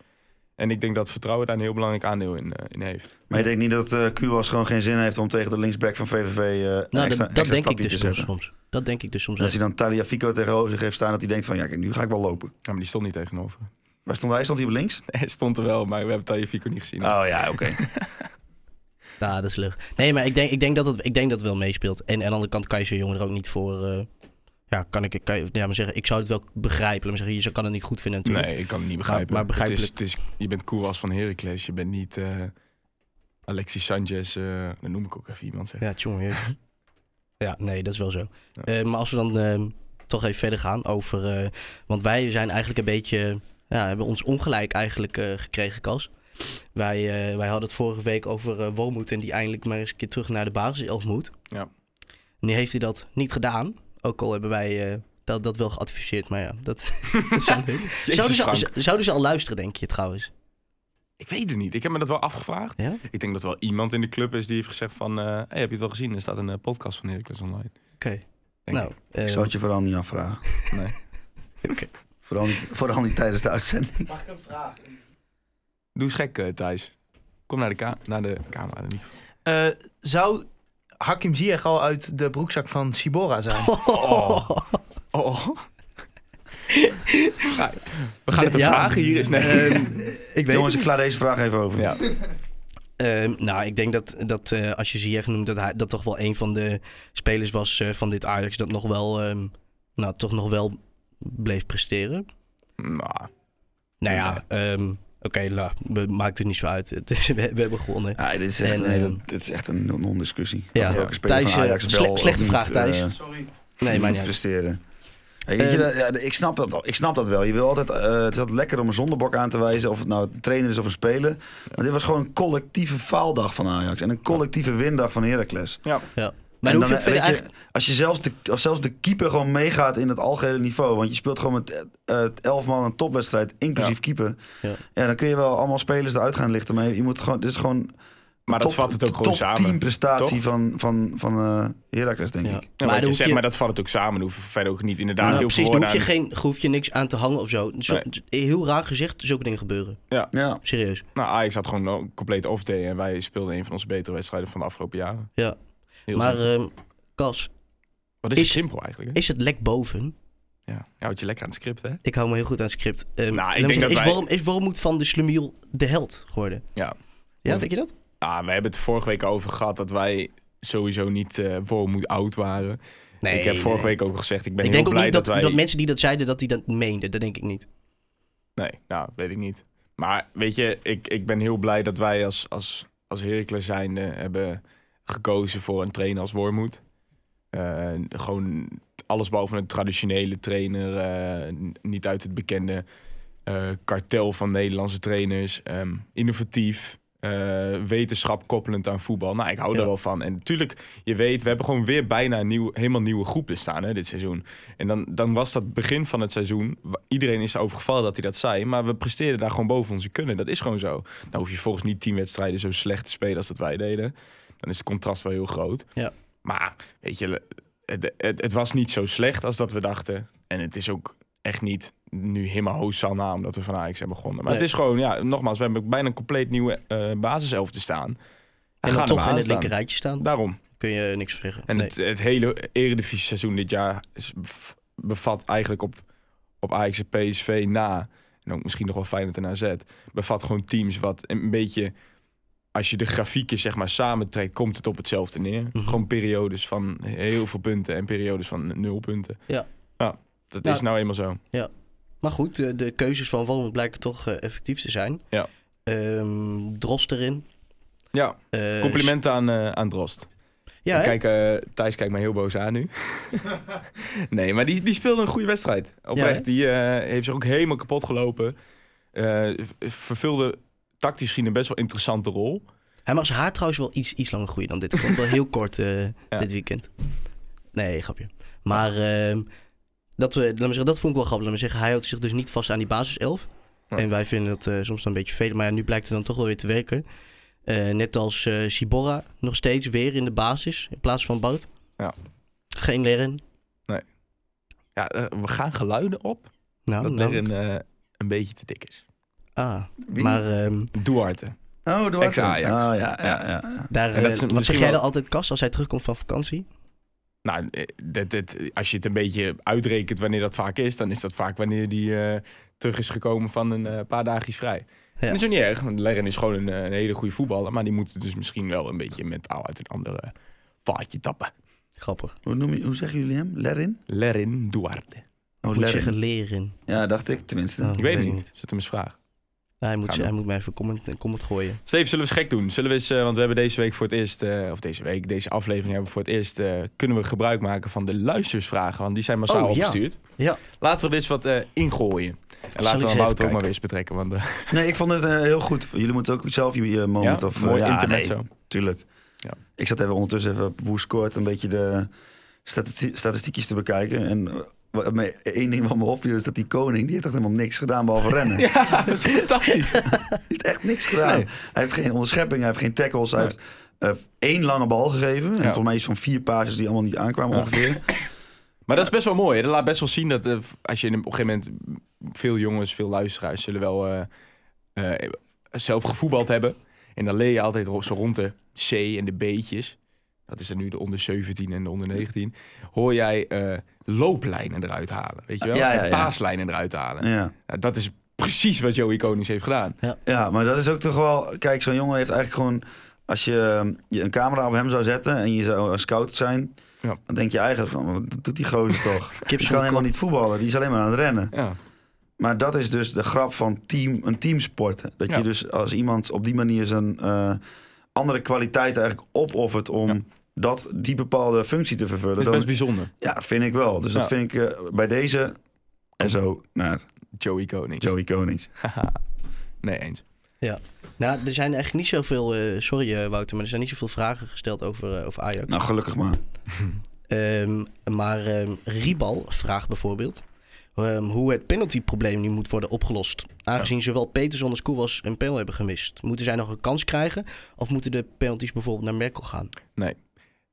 En ik denk dat vertrouwen daar een heel belangrijk aandeel in, eh, in heeft.
Maar je denkt niet dat eh Kuwas gewoon geen zin heeft om tegen de linksback van VVV eh een
Nou,
extra,
dat, dat
extra
denk ik
stapje
dus
te
soms,
zetten?
soms. Dat denk ik dus soms.
En Als
echt.
hij dan Talia Fico tegenover zich heeft staan, dat hij denkt van ja, kijk, nu ga ik wel lopen.
Ja, maar die stond niet tegenover.
Waar stond hij? Stond hij op links?
Hij stond er wel, maar we hebben Taje Fico niet gezien.
Oh ja, oké.
Ja, dat is leuk. Nee, maar ik denk, ik denk, dat, het, ik denk dat het wel meespeelt. En aan de andere kant kan je zo'n jongen er ook niet voor... eh, ja, kan ik, kan je, ja, maar zeggen, ik zou het wel begrijpen. Laat maar zeggen, je kan het niet goed vinden natuurlijk.
nee, ik kan het niet begrijpen.
maar begrijpelijk.
Het is, het is- je bent cool als van Heracles. Je bent niet eh, Alexis Sanchez. eh dan noem ik ook even iemand. Zeg.
Ja, jongen. ja. ja, nee, dat is wel zo. Eh, maar als we dan eh, toch even verder gaan over... eh, want wij zijn eigenlijk een beetje... Ja, hebben ons ongelijk eigenlijk eh, gekregen, Kas. Wij, eh, wij hadden het vorige week over eh Wormoed en die eindelijk maar eens een keer terug naar de basiself moet.
Ja.
Nu heeft hij dat niet gedaan. Ook al hebben wij eh, dat, dat wel geadviseerd, maar ja, dat, dat zijn zouden, ze al,
Frank.
zouden ze al luisteren, denk je trouwens?
Ik weet het niet. Ik heb me dat wel afgevraagd.
Ja?
Ik denk dat er wel iemand in de club is die heeft gezegd van... eh, hey, heb je het wel gezien? Er staat een eh, podcast van Heracles online.
Oké.
Denk
Nou,
ik.
eh,
Ik zou het je vooral niet afvragen.
Nee.
Oké.
Vooral niet, vooral niet tijdens de uitzending.
Doe eens gek, eh, Thijs. Kom naar de, ka- naar de camera. Niet
Eh, zou Hakim Ziyech al uit de broekzak van Sibora zijn?
Oh. Oh. Nou, we gaan het een
Ja.
vragen hier. Is
Ehm,
nee.
ik weet
Jongens, ik sla deze vraag even over.
ja.
Ehm, nou, ik denk dat, dat eh, als je Ziyech noemt, dat hij dat toch wel een van de spelers was eh, van dit Ajax dat nog wel, ehm, nou, toch nog wel bleef presteren.
Nou,
Nou ja, ehm, oké, nou, we- maakt het niet zo uit. Het is- we, we hebben gewonnen.
Ah, dit, is echt,
En,
een hele-
ehm,
dit is echt een non- non-discussie.
Ja.
Of
Ja.
welke speler
Thijs,
van
eh,
Ajax wel
sle-
of
slechte
niet,
vraag, Thijs.
eh,
Nee, maar
niet
niet uit.
presteren. Hey, weet je, dat-
Eh,
ja, ik, snap dat, al. ik snap dat wel. Je wil altijd, eh, het is altijd lekker om een zondebok aan te wijzen. Of het nou een trainer is of een speler. Maar dit was gewoon een collectieve faaldag van Ajax. En een collectieve windag van Heracles.
ja.
Ja. Maar
En
dan hoef je ook
dan, eh,
verder
weet je,
eigenlijk...
Als je zelfs de, als zelfs de keeper gewoon meegaat in het algehele niveau. Want je speelt gewoon met eh, eh, elf man een topwedstrijd, inclusief keeper.
Ja.
Ja. dan kun je wel allemaal spelers eruit gaan lichten. Maar je moet gewoon, dit is gewoon een
Maar dat
top-
vat het ook gewoon
top
samen.
prestatie van, van, van eh, Heracles, denk
Ja.
ik.
Ja,
maar,
maar,
dan
je
hoef
zegt,
je,
maar dat valt het ook samen. Dan hoef je verder ook niet inderdaad
nou,
heel
precies,
veel
daar hoef je,
aan-
geen, hoef je niks aan te hangen of zo. Dus Zo- Heel raar gezegd, zulke dingen gebeuren.
Ja.
Serieus.
Nou, Ajax had gewoon een compleet off day. En wij speelden een van onze betere wedstrijden van de afgelopen jaren.
Ja.
Heel
Maar,
simpel.
ehm Kas,
Wat is, het
is-
simpel eigenlijk? Hè?
is het lek boven?
Ja. ja, houd je lekker aan het script, hè?
Ik hou me heel goed aan het script. Ehm,
Nou, ik
laat me
denk
zeggen,
dat
is,
wij-
Worm- is Wormoed van de Slemiel de held geworden?
Ja.
Ja,
Of-
denk je dat?
Ah, we hebben het vorige week over gehad dat wij sowieso niet eh voor moet oud waren.
Nee,
ik heb vorige
nee.
week ook gezegd, ik ben heel
ik denk ook
blij
niet dat, dat,
wij...
mensen die dat zeiden, dat die dat meenden. Dat denk ik niet.
Nee, nou, weet ik niet. Maar weet je, ik, ik ben heel blij dat wij als, als, als Heracles zijnde hebben gekozen voor een trainer als Wormoed. Eh, gewoon alles behalve een traditionele trainer, eh, n- niet uit het bekende eh, kartel van Nederlandse trainers. Ehm, innovatief, eh, wetenschap koppelend aan voetbal. Nou, ik hou daar
Ja.
wel van. En natuurlijk, je weet, we hebben gewoon weer bijna een nieuw, helemaal nieuwe groepen staan hè, dit seizoen. En dan, dan was dat begin van het seizoen. wa- Iedereen is erover gevallen dat hij dat zei. Maar we presteerden daar gewoon boven onze kunnen. Dat is gewoon zo. Dan hoef je volgens niet tien wedstrijden zo slecht te spelen als dat wij deden. Dan is het contrast wel heel groot.
Ja.
Maar weet je, het, het, het was niet zo slecht als dat we dachten. En het is ook echt niet nu helemaal Hosanna omdat we van Ajax hebben begonnen. Maar
Nee.
het is gewoon, ja, nogmaals, we hebben bijna een compleet nieuwe eh basiself te staan.
En
Ga
dan
er
toch
maar
in
aan
het
staan.
linker rijtje staan. Daar
Daarom.
kun je niks voor zeggen.
En
nee.
het, het hele eredivisie seizoen dit jaar is, bev- bevat eigenlijk op, op Ajax en PSV na... en ook misschien nog wel Feyenoord en AZ... bevat gewoon teams wat een beetje als je de grafieken zeg maar samentrekt, komt het op hetzelfde neer.
Mhm.
Gewoon periodes van heel veel punten en periodes van nul punten.
Ja.
Nou, dat
Ja.
is nou eenmaal zo.
Maar goed, eh, de keuzes van Valmond blijken toch eh, effectief te zijn.
Ja.
Ehm, Drost erin.
Ja,
Eh,
complimenten aan, eh, aan Drost.
Ja, hè?
Kijk, eh, Thijs kijkt mij heel boos aan nu. nee, maar die, die speelde een goede wedstrijd. Oprecht,
hè?
die eh, heeft zich ook helemaal kapot gelopen. Eh, vervulde tactisch misschien een best wel interessante rol.
Hij mag zijn haar trouwens wel iets, iets langer groeien dan dit. Het komt wel heel kort eh, dit weekend. Nee, grapje. Maar ehm, dat, we, laat me zeggen, dat vond ik wel grappig. Laat me zeggen, hij houdt zich dus niet vast aan die basiself.
Ja.
En wij vinden dat eh, soms dan een beetje veel. Maar ja, nu blijkt het dan toch wel weer te werken. Eh, net als eh Sibora nog steeds weer in de basis in plaats van Bart.
Ja.
Geen Leren.
Ja, eh, we gaan geluiden op
Nou,
dat
nou.
er een, eh, een beetje te dik is.
Ah, maar ehm,
Duarte.
Oh, Duarte.
Ex-Ajax. Ah,
Oh, ja, ja, ja. ja.
daar,
En dat
eh,
is
wat zeg
misschien
jij
wel-
dan altijd, Kas, als hij terugkomt van vakantie?
Nou, eh, dit, dit, als je het een beetje uitrekent wanneer dat vaak is, dan is dat vaak wanneer die eh, terug is gekomen van een eh, paar dagjes vrij. En Dat is ook niet erg, want Lerren is gewoon een, eh, een hele goede voetballer, maar die moet dus misschien wel een beetje mentaal uit een andere vaatje tappen.
Grappig.
Hoe, noem je, hoe zeggen jullie hem? Lerin?
Lerin Duarte.
Oh,
Moet zeggen Leren.
Ja, dacht ik tenminste.
Oh,
Ik weet het niet. Zet hem eens vragen.
Nou, hij, moet,
Gaan we.
hij moet mij even een comment, een comment gooien.
Steven, zullen we eens gek doen? Zullen we eens, eh, want we hebben deze week voor het eerst, eh, of deze week, deze aflevering hebben we voor het eerst, eh, kunnen we gebruik maken van de luistersvragen, want die zijn massaal
Oh, ja.
opgestuurd.
Ja.
Laten we er eens wat eh, ingooien. En
eens
laten we dan
even
Wouter ook maar
kijken? Oh,
weer eens betrekken, want eh,
Nee, ik vond het eh, heel goed. Jullie moeten ook zelf je eh, moment
ja,
of... eh,
mooi
ja,
internet
nee,
zo.
tuurlijk.
Ja.
Ik zat even ondertussen even op Woescoort een beetje de stati- statistiekjes te bekijken. En eh, wat me- één ding wat me opviel is dat die koning, die heeft echt helemaal niks gedaan behalve rennen. Hij
Ja, dat is fantastisch.
heeft echt niks gedaan.
Nee.
Hij heeft geen onderschepping, hij heeft geen tackles. Hij heeft eh, één lange bal gegeven. En
Ja.
voor mij is het van vier pages die allemaal niet aankwamen
Ja.
ongeveer.
Maar dat is best wel mooi. Hè? Dat laat best wel zien dat eh, als je in- op een gegeven moment... Veel jongens, veel luisteraars zullen wel eh, eh, zelf gevoetbald hebben. En dan leer je altijd ro- zo rond de C en de B'tjes. Dat is dan nu de onder 17 en de onder 19. Hoor jij eh, looplijnen eruit halen, weet je wel?
Ja, ja,
en
ja.
paaslijnen eruit halen.
Ja.
Nou, dat is precies wat Joey Konings heeft gedaan.
Ja, maar dat is ook toch wel. Kijk, zo'n jongen heeft eigenlijk gewoon. Als je, eh, je een camera op hem zou zetten en je zou een scout zijn,
Ja.
dan denk je eigenlijk van, wat doet die gozer toch? Die
Kips
kan helemaal niet voetballen, die is alleen maar aan het rennen.
Ja.
Maar dat is dus de grap van team, een teamsport. Dat
Ja.
je dus als iemand op die manier zijn eh, andere kwaliteiten eigenlijk opoffert om dat, die bepaalde functie te
Dat
vervullen.
is
Dan,
best bijzonder,
ja, vind ik wel. Dus dat
Ja.
vind ik eh, bij deze en zo naar
Joey Konings.
Joey Konings.
Nee, eens.
Nou, er zijn eigenlijk niet zoveel, eh, sorry eh, Wouter, maar er zijn niet zoveel vragen gesteld over, eh, over Ajax.
Nou, gelukkig maar.
Ehm, maar ehm, Riebal vraagt bijvoorbeeld ehm, hoe het penaltyprobleem nu moet worden opgelost. Aangezien zowel Peterson als Koewas een penalty hebben gemist. Moeten zij nog een kans krijgen of moeten de penalties bijvoorbeeld naar Merkel gaan?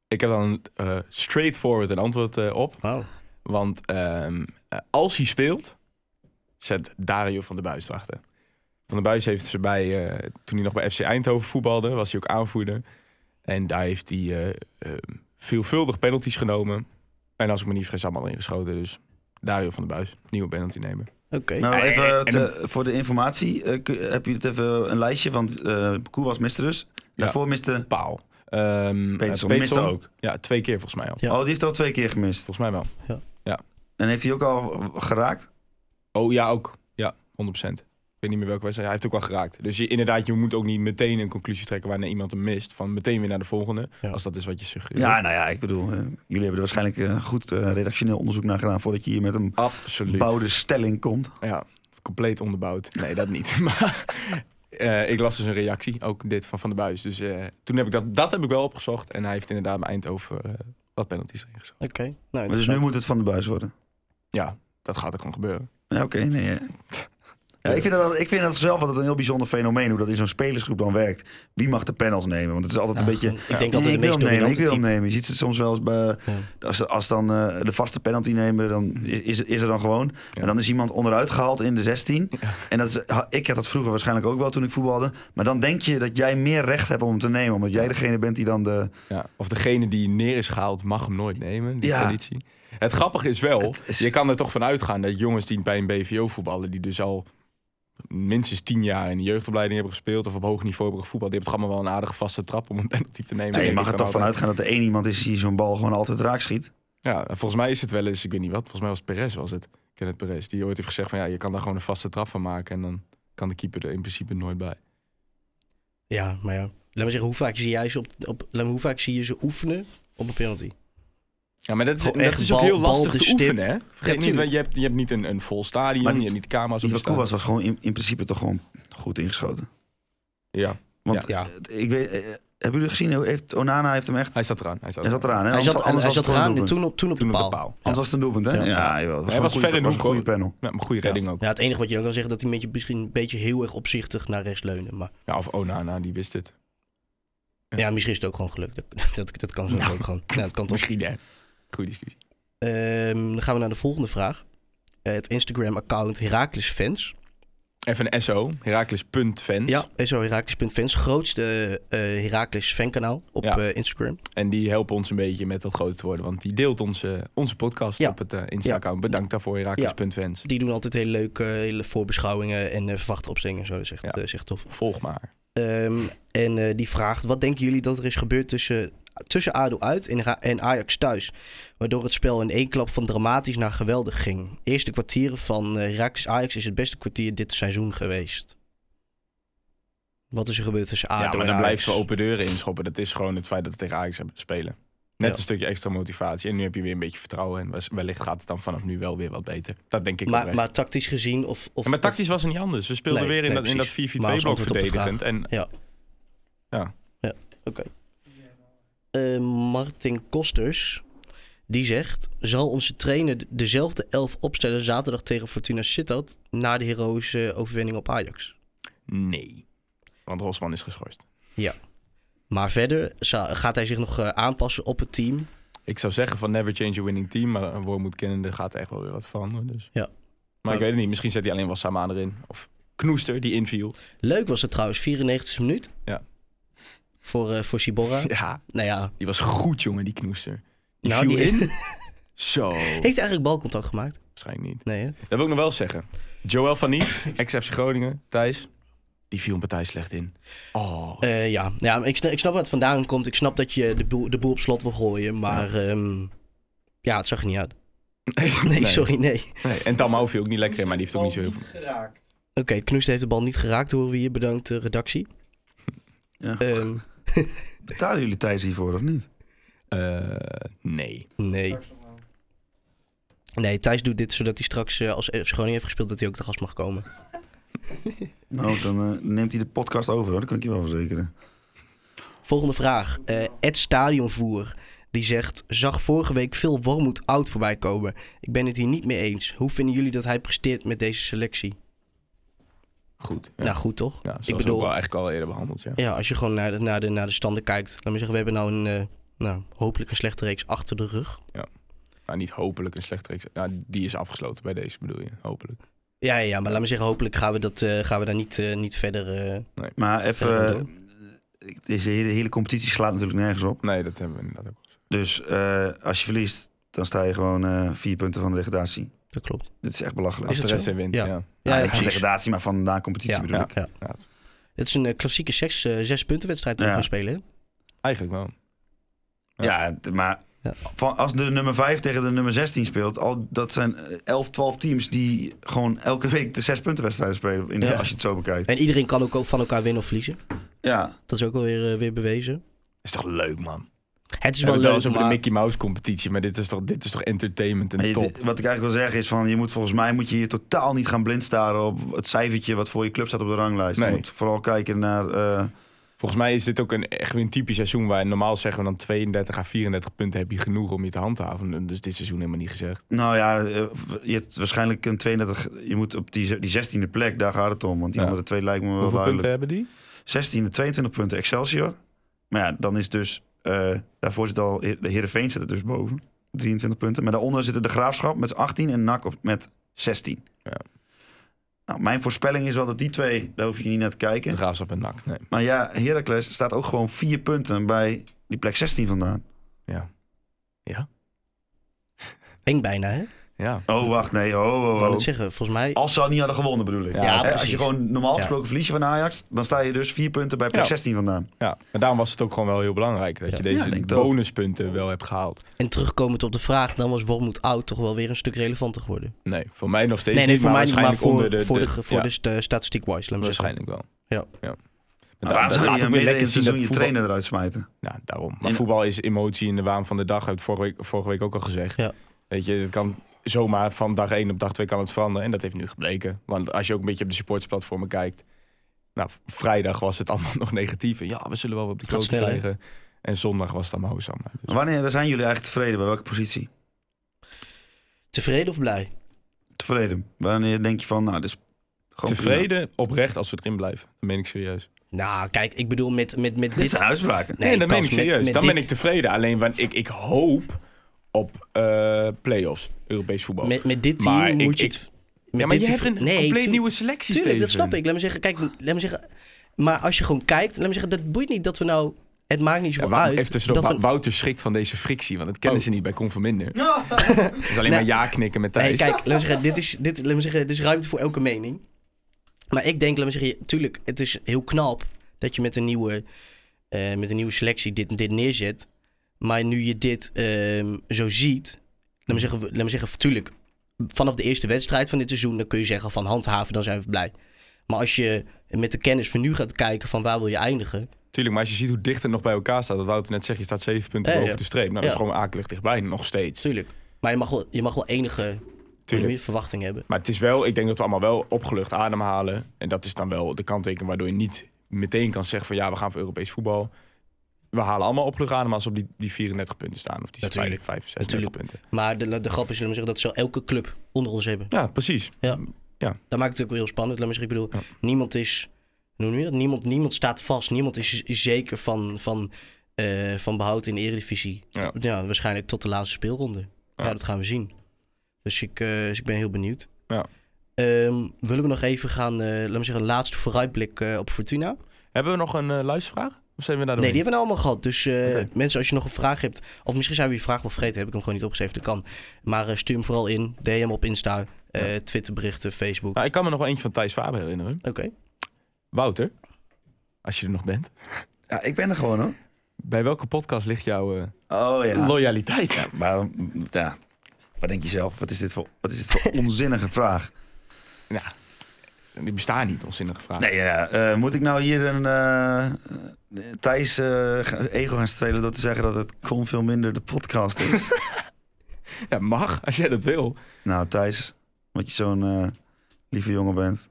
Ik heb dan eh, straightforward een antwoord eh, op.
Wow.
Want ehm, eh, als hij speelt, zet Dario van der Buis erachter. Van der Buis heeft ze bij, eh, toen hij nog bij FC Eindhoven voetbalde, was hij ook aanvoerder. En daar heeft hij eh, ehm, veelvuldig penalties genomen. En als ik me niet vergis, allemaal ingeschoten. Dus Dario van der Buis, nieuwe penalty nemen.
Oké.
Nou,
Eh,
even
en
te- voor de informatie. eh, ku- heb je het even een lijstje? Want eh Koe was miste dus. Daarvoor miste...
Paal. Ehm, eh,
Peterson
Peterson.
miste ook.
Ja, twee keer volgens mij al.
Ja.
Oh, die heeft al twee keer gemist.
Volgens mij wel.
En heeft hij ook al geraakt?
Oh ja, ook. Ja, 100%. Ik weet niet meer welke wedstrijd. Hij heeft ook wel geraakt. Dus je, inderdaad, je moet ook niet meteen een conclusie trekken wanneer iemand hem mist. Van meteen weer naar de volgende.
Ja.
Als dat is wat je suggereert.
Ja, nou ja, ik bedoel, eh, jullie hebben er waarschijnlijk eh, goed eh, redactioneel onderzoek naar gedaan voordat je hier met een
absoluut.
bouwde stelling komt.
Ja, compleet onderbouwd. Nee, dat niet. maar eh, ik las dus een reactie, ook dit van Van der Buis. Dus eh, toen heb ik dat, dat heb ik wel opgezocht. En hij heeft inderdaad bij Eindhoven eh, wat penalties ingeschoten.
Oké, nou
Maar dus nu
interessant.
moet het van de buis worden.
Ja, dat gaat er gewoon gebeuren.
Ja, oké, nee. ja. Ja, ik, vind dat, ik vind dat zelf altijd een heel bijzonder fenomeen hoe dat in zo'n spelersgroep dan werkt. Wie mag de panels nemen? Want het is altijd
Ja,
een beetje.
gewoon- Ik denk
Nee,
altijd
ik
de
wil
meest
hem nemen,
dominante
ik wil hem
type.
nemen. Je ziet het soms wel eens bij... Als, als dan eh, de vaste penalty nemen, dan is, is er dan gewoon. En dan is iemand onderuit gehaald in de 16. En dat is, ha- ik had dat vroeger waarschijnlijk ook wel toen ik voetbalde. Maar dan denk je dat jij meer recht hebt om hem te nemen. Omdat jij degene bent die dan de...
Ja, of degene die neer is gehaald mag hem nooit nemen, die
Ja.
traditie. Het grappige is wel,
Het is-
je kan er toch van uitgaan dat jongens die bij een BVO voetballen, die dus al minstens tien jaar in de jeugdopleiding hebben gespeeld of op hoog niveau hebben gevoetbald, die hebben toch allemaal wel een aardige vaste trap om een penalty te nemen.
Ja, je
denk
mag
ik
er
dan
toch van
altijd.
uitgaan dat er één iemand is die zo'n bal gewoon altijd raak schiet.
Ja, en volgens mij is het wel eens, ik weet niet wat, volgens mij was het Perez was het, Kenneth Perez, die ooit heeft gezegd van ja, je kan daar gewoon een vaste trap van maken en dan kan de keeper er in principe nooit bij.
Ja, maar ja. Laat me zeggen, hoe vaak zie, jij ze op, op, laat me, hoe vaak zie je ze oefenen op een penalty?
Ja, maar dat is,
Gewoon
dat
echt
is ook
bal-
heel
bal
lastig
de
te
stip.
oefenen, hè?
Ja,
Vergeet niet,
tuurlijk.
want je hebt, je hebt niet een, een vol stadion,
Maar die-
je hebt niet camera's
Die
op
van
de
Koe was,
stadion.
was gewoon in, in principe toch gewoon goed ingeschoten.
Ja,
Want
Ja.
eh, ik weet, eh, hebben jullie gezien, hoe heeft, Onana heeft hem echt...
hij zat eraan. Hij zat,
Hij zat
eraan.
eraan, hè?
hij
Anders-
zat,
anders
hij
was het
zat
gewoon een
eraan en
doelpunt.
toen op, toen op
Toen
de
op de
paal.
paal.
Ja.
Anders was het een doelpunt, hè?
Ja.
Ja, jawel, het was
Hij
gewoon
was
een goede-
ver in de
was een
hoek,
goede panel.
Ja, maar goede
Ja.
redding ook.
Ja, het enige wat je dan kan zeggen, dat hij met je misschien een beetje heel erg opzichtig naar rechts leunde. Maar
Ja, of Onana, die wist het. Ja.
ja, misschien is het ook gewoon gelukt. Dat, dat, dat kan zo
Nou,
ook gewoon. Ja, dat kan toch.
Misschien, hè? Goede discussie.
Ehm, dan gaan we naar de volgende vraag. Eh, het Instagram-account Heracles Fans.
Even een SO, Herakles.fans.
Ja, zo Heracles.fans. Grootste eh Heracles fankanaal op
Ja.
eh, Instagram.
En die helpen ons een beetje met dat groot te worden. Want die deelt onze, onze podcast
Ja.
op het eh, Insta-account. Bedankt daarvoor, Herakles.fans.
Die doen altijd hele leuke hele voorbeschouwingen en eh verwachte opstellingen en zo. Dat is echt,
Ja.
eh, is echt tof.
Volg maar.
Ehm, en eh, die vraagt, wat denken jullie dat er is gebeurd tussen, tussen ADO uit en, Ra- en Ajax thuis? Waardoor het spel in één klap van dramatisch naar geweldig ging. Eerste kwartieren van eh Heracles Ajax is het beste kwartier dit seizoen geweest. Wat is er gebeurd tussen ADO
ja, maar
en
dan
Ajax?
blijven ze open deuren inschoppen. Dat is gewoon het feit dat we tegen Ajax hebben spelen. Net
Ja.
een stukje extra motivatie. En nu heb je weer een beetje vertrouwen. En wellicht gaat het dan vanaf nu wel weer wat beter. Dat denk ik
maar,
oprecht.
maar tactisch gezien of... of
Ja, maar tactisch was het niet anders. We speelden
Nee,
weer in
nee,
dat, in dat
precies. Maar als
4-4-2-blok
antwoord op de
verdedigend. En
Eh, Martin Kosters, die zegt... Zal onze trainer d- dezelfde elf opstellen zaterdag tegen Fortuna Sittard... na de heroïsche overwinning op Ajax?
nee. Want Rosman is geschorst.
Maar verder za- gaat hij zich nog eh, aanpassen op het team.
Ik zou zeggen van never change a winning team. Maar een Wormoed kennende gaat echt wel weer wat veranderen. Dus.
Ja.
Maar, ik weet het niet. Misschien zet hij alleen wel Samaan erin. Of Knoester, die inviel.
Leuk was het trouwens, 94 minuut.
Ja.
Voor, eh, voor Sibora.
Ja,
Nou ja,
die was goed, jongen, die Knoester. Die
nou,
viel
die
in.
heeft
Zo.
hij eigenlijk balcontact gemaakt.
Waarschijnlijk niet.
Nee, hè?
Dat wil ik nog wel zeggen. Joël van Niet, ex-FC Groningen, Thijs. Die viel een partij slecht in. Oh.
Eh, ja, ja maar ik, snap, ik snap waar het vandaan komt. Ik snap dat je de boel, de boel op slot wil gooien. Maar ja, ja het zag er niet uit. Nee, sorry, nee. Oké,
Nee, En Tamau viel ook niet lekker in, maar die heeft ook niet zo heel veel.
geraakt.
Knoest heeft de bal niet geraakt, horen we hier. Bedankt, de redactie.
Ja.
Ehm,
Betalen jullie Thijs hiervoor of niet?
Eh, nee.
nee. nee, Thijs doet dit zodat hij straks, eh, als FC Groningen heeft gespeeld, dat hij ook te gast mag komen.
Nou, dan eh, neemt hij de podcast over, hoor. Dat kan ik je wel verzekeren.
Volgende vraag. Eh Ed Stadionvoer. Die zegt, zag vorige week veel Wormoed oud voorbij komen. Ik ben het hier niet mee eens. Hoe vinden jullie dat hij presteert met deze selectie?
Goed.
Nou, goed toch?
Ja, zoals
ik
ook
bedoel,
wel eigenlijk al eerder behandeld, ja.
ja, als je gewoon naar de, naar, de, naar de standen kijkt. Laat me zeggen, we hebben nou een, eh, nou, hopelijk een slechte reeks achter de rug.
Nou, niet hopelijk een slecht reeks. Nou, die is afgesloten bij deze, bedoel je. Hopelijk.
Ja, ja, ja maar laat me zeggen, hopelijk gaan we, dat, eh, gaan we daar niet, eh, niet verder... eh,
Maar even...
Ja,
eh, deze hele, hele competitie slaat natuurlijk nergens op.
Nee, dat hebben we inderdaad ook.
Dus eh, als je verliest, dan sta je gewoon eh, vier punten van de degradatie.
dat klopt.
Dit is echt belachelijk.
Als
Is
de
het
rest
zo?
in wint, ja.
Ja.
ja.
Ja,
Ja,
ja,
niet van
precies.
degradatie, maar van na competitie
Ja,
bedoel ik.
ja. Het is een eh, klassieke zes, eh, zespuntenwedstrijd die we
Ja.
gaan spelen. hè?
Eigenlijk wel. Ja.
Ja, d- maar
Ja.
van, als de nummer 5 tegen de nummer 16 speelt, al, dat zijn eh, 11, 12 teams die gewoon elke week de 6 punten wedstrijden spelen, in de-
Ja.
als je het zo bekijkt.
En iedereen kan ook van elkaar winnen of verliezen.
Ja,
Dat is ook alweer eh, weer bewezen.
Is toch leuk, man?
Het is
We hebben
wel
het wel
leuk,
eens over de
maar-
Mickey Mouse competitie, maar dit is toch, dit is toch entertainment en
en je-
top.
dit- wat ik eigenlijk wil zeggen is van, je moet volgens mij moet je hier totaal niet gaan blind staren op het cijfertje wat voor je club staat op de ranglijst.
Nee.
Je moet vooral kijken naar... eh,
Volgens mij is dit ook een, echt weer een typisch seizoen waar normaal zeggen we dan 32 à 34 punten heb je genoeg om je te handhaven. Dus dit seizoen helemaal niet gezegd.
nou ja, eh, je hebt waarschijnlijk een 32... Je moet op die, ze- die 16e plek, daar gaat het om. Want die
Ja.
andere twee lijken me wel
Hoeveel
duidelijk.
punten hebben die?
16e, 22 punten Excelsior. Maar ja, dan is dus... eh, daarvoor zit al... Heer- De Heerenveen zit er dus boven. 23 punten. Maar daaronder zitten de Graafschap met 18 en NAC op, met 16.
Ja.
Nou, mijn voorspelling is wel dat die twee... Daar hoef je niet naar te
De
kijken.
Graafschap en NAC. Nee.
Maar ja, Heracles staat ook gewoon vier punten bij die plek 16 vandaan.
Ja.
Eng bijna, hè?
Ja.
Oh, wacht, nee. Oh, oh,
Ik wou
oh.
het zeggen, volgens mij...
Als ze niet hadden gewonnen, bedoel ik.
Ja,
Hè, als
precies.
je gewoon normaal
Ja.
gesproken verlies je van Ajax, dan sta je dus vier punten bij plek
Ja.
16 vandaan.
ja. Maar daarom was het ook gewoon wel heel belangrijk dat je
Ja,
deze
denk het ook.
bonuspunten wel hebt gehaald.
En terugkomend op de vraag, dan was Wormoed oud toch wel weer een stuk relevanter geworden.
Nee, voor mij nog steeds
nee, nee,
niet,
voor mij
maar
niet, maar
waarschijnlijk onder
voor,
de...
voor, de, ge- voor
ja,
de st- eh, statistiek-wise, laat me zeggen.
waarschijnlijk wel.
Ja.
ja.
Nou,
daar-
waarom
dat
zou
laat
je
ook weer
dan midden in
lekker
het
zien dat
seizoen je
voetbal-
trainer eruit smijten?
Ja, daarom. Maar
In-
voetbal is emotie in de waan van de dag. Heb ik vorige week, vorige week ook al gezegd.
Ja.
Weet je, het kan zomaar van dag 1 op dag 2 kan het veranderen. En dat heeft nu gebleken. Want als je ook een beetje op de supportsplatformen kijkt. Nou, v- vrijdag was het allemaal nog negatief. En ja, we zullen wel weer op de
Gaat
kloot
snel, hè?
krijgen. En zondag was het allemaal hoosam. Dus
Wanneer zijn jullie eigenlijk tevreden? Bij welke positie?
Tevreden of blij?
Tevreden. Wanneer denk je van, nou, dit is gewoon prima.
tevreden, oprecht als we erin blijven. Dat meen ik serieus.
Nou, kijk, ik bedoel met, met, met
Dit zijn
dit...
uitspraken.
Nee, dat meen
Bas,
ik
met-
serieus.
met
Dan ben
dit-
ik tevreden. Alleen want ik, ik hoop op eh play-offs, Europees voetbal.
Met, met dit team
Maar ik-
moet je...
ik-
het- met
ja, maar
dit
je hebt
team-
een compleet
tu-
nieuwe selectie eh.
Tuurlijk, dat
Steven.
snap ik. Laat me zeggen, kijk, laat me zeggen... Maar als je gewoon kijkt, laat me zeggen, dat boeit niet dat we nou... Het maakt niet
Ja,
zoveel
Wou-
uit.
even tussendoor,
dat
Wou-
we-
Wouter schrikt van deze frictie, want dat kennen
Oh.
ze niet bij Conforminder. Het is alleen
Nou,
maar ja knikken met Thijs.
Nee, kijk, laat me zeggen, dit is, dit, laat me zeggen, dit is ruimte voor elke mening. Maar ik denk, laat me zeggen, je- tuurlijk, het is heel knap dat je met een nieuwe, eh, met een nieuwe selectie dit, dit neerzet. Maar nu je dit ehm, zo ziet, laat me, zeggen, we- laat me zeggen, tuurlijk, vanaf de eerste wedstrijd van dit seizoen, dan kun je zeggen van handhaven, dan zijn we blij. Maar als je met de kennis van nu gaat kijken van waar wil je eindigen.
Tuurlijk, maar als je ziet hoe dicht het nog bij elkaar staat, dat Wouter net zegt, je staat zeven punten
Ja,
boven
ja.
de streep. Nou,
Ja.
dat is gewoon akelig dichtbij, nog steeds.
Tuurlijk. Maar je mag wel, je mag wel enige
Tuurlijk.
verwachting hebben.
Maar het is wel, ik denk dat we allemaal wel opgelucht ademhalen. En dat is dan wel de kanttekening waardoor je niet meteen kan zeggen van ja, we gaan voor Europees voetbal. We halen allemaal opgelucht adem als we op die, die 34 punten staan. Of die
Natuurlijk.
5, 36 punten.
Maar de, de grap is, laat me zeggen, dat ze elke club onder ons hebben.
Ja, precies.
Ja.
Ja.
Dat maakt het ook weer heel spannend. Laat me zeggen, ik bedoel,
Ja.
niemand is... Hoe noem je dat? Niemand, niemand staat vast. Niemand is is zeker van, van, eh, van behoud in de eredivisie.
Ja.
T- Ja, waarschijnlijk tot de laatste speelronde. Ja,
Ja.
dat gaan we zien. Dus ik, eh, dus ik ben heel benieuwd.
Ja.
Ehm, willen we nog even gaan, eh laat me zeggen, een laatste vooruitblik eh, op Fortuna?
Hebben we nog een eh, luistervraag? Of zijn we daar
Nee,
doorheen?
die hebben we allemaal gehad. Dus eh,
Oké.
mensen, als je nog een vraag hebt... of misschien zijn we je vraag wel vergeten, heb ik hem gewoon niet opgeschreven, dat kan. Maar eh, stuur hem vooral in, DM op Insta, eh, Twitterberichten, Facebook.
Nou, ik kan me nog wel eentje van Thijs Faber herinneren.
Oké.
Wouter, als je er nog bent.
Ja, ik ben er gewoon hoor.
Bij welke podcast ligt jouw eh,
Oh ja.
loyaliteit?
Ja, maar ja. wat denk je zelf? Wat is dit voor, wat is dit voor onzinnige vraag?
Ja. Die bestaan niet, onzinnige vraag.
Nee, ja, eh, moet ik nou hier een eh, Thijs eh, ga- ego gaan strelen door te zeggen dat het kon veel minder de podcast is?
Ja, mag, als jij dat wil.
nou, Thijs, omdat je zo'n eh, lieve jongen bent.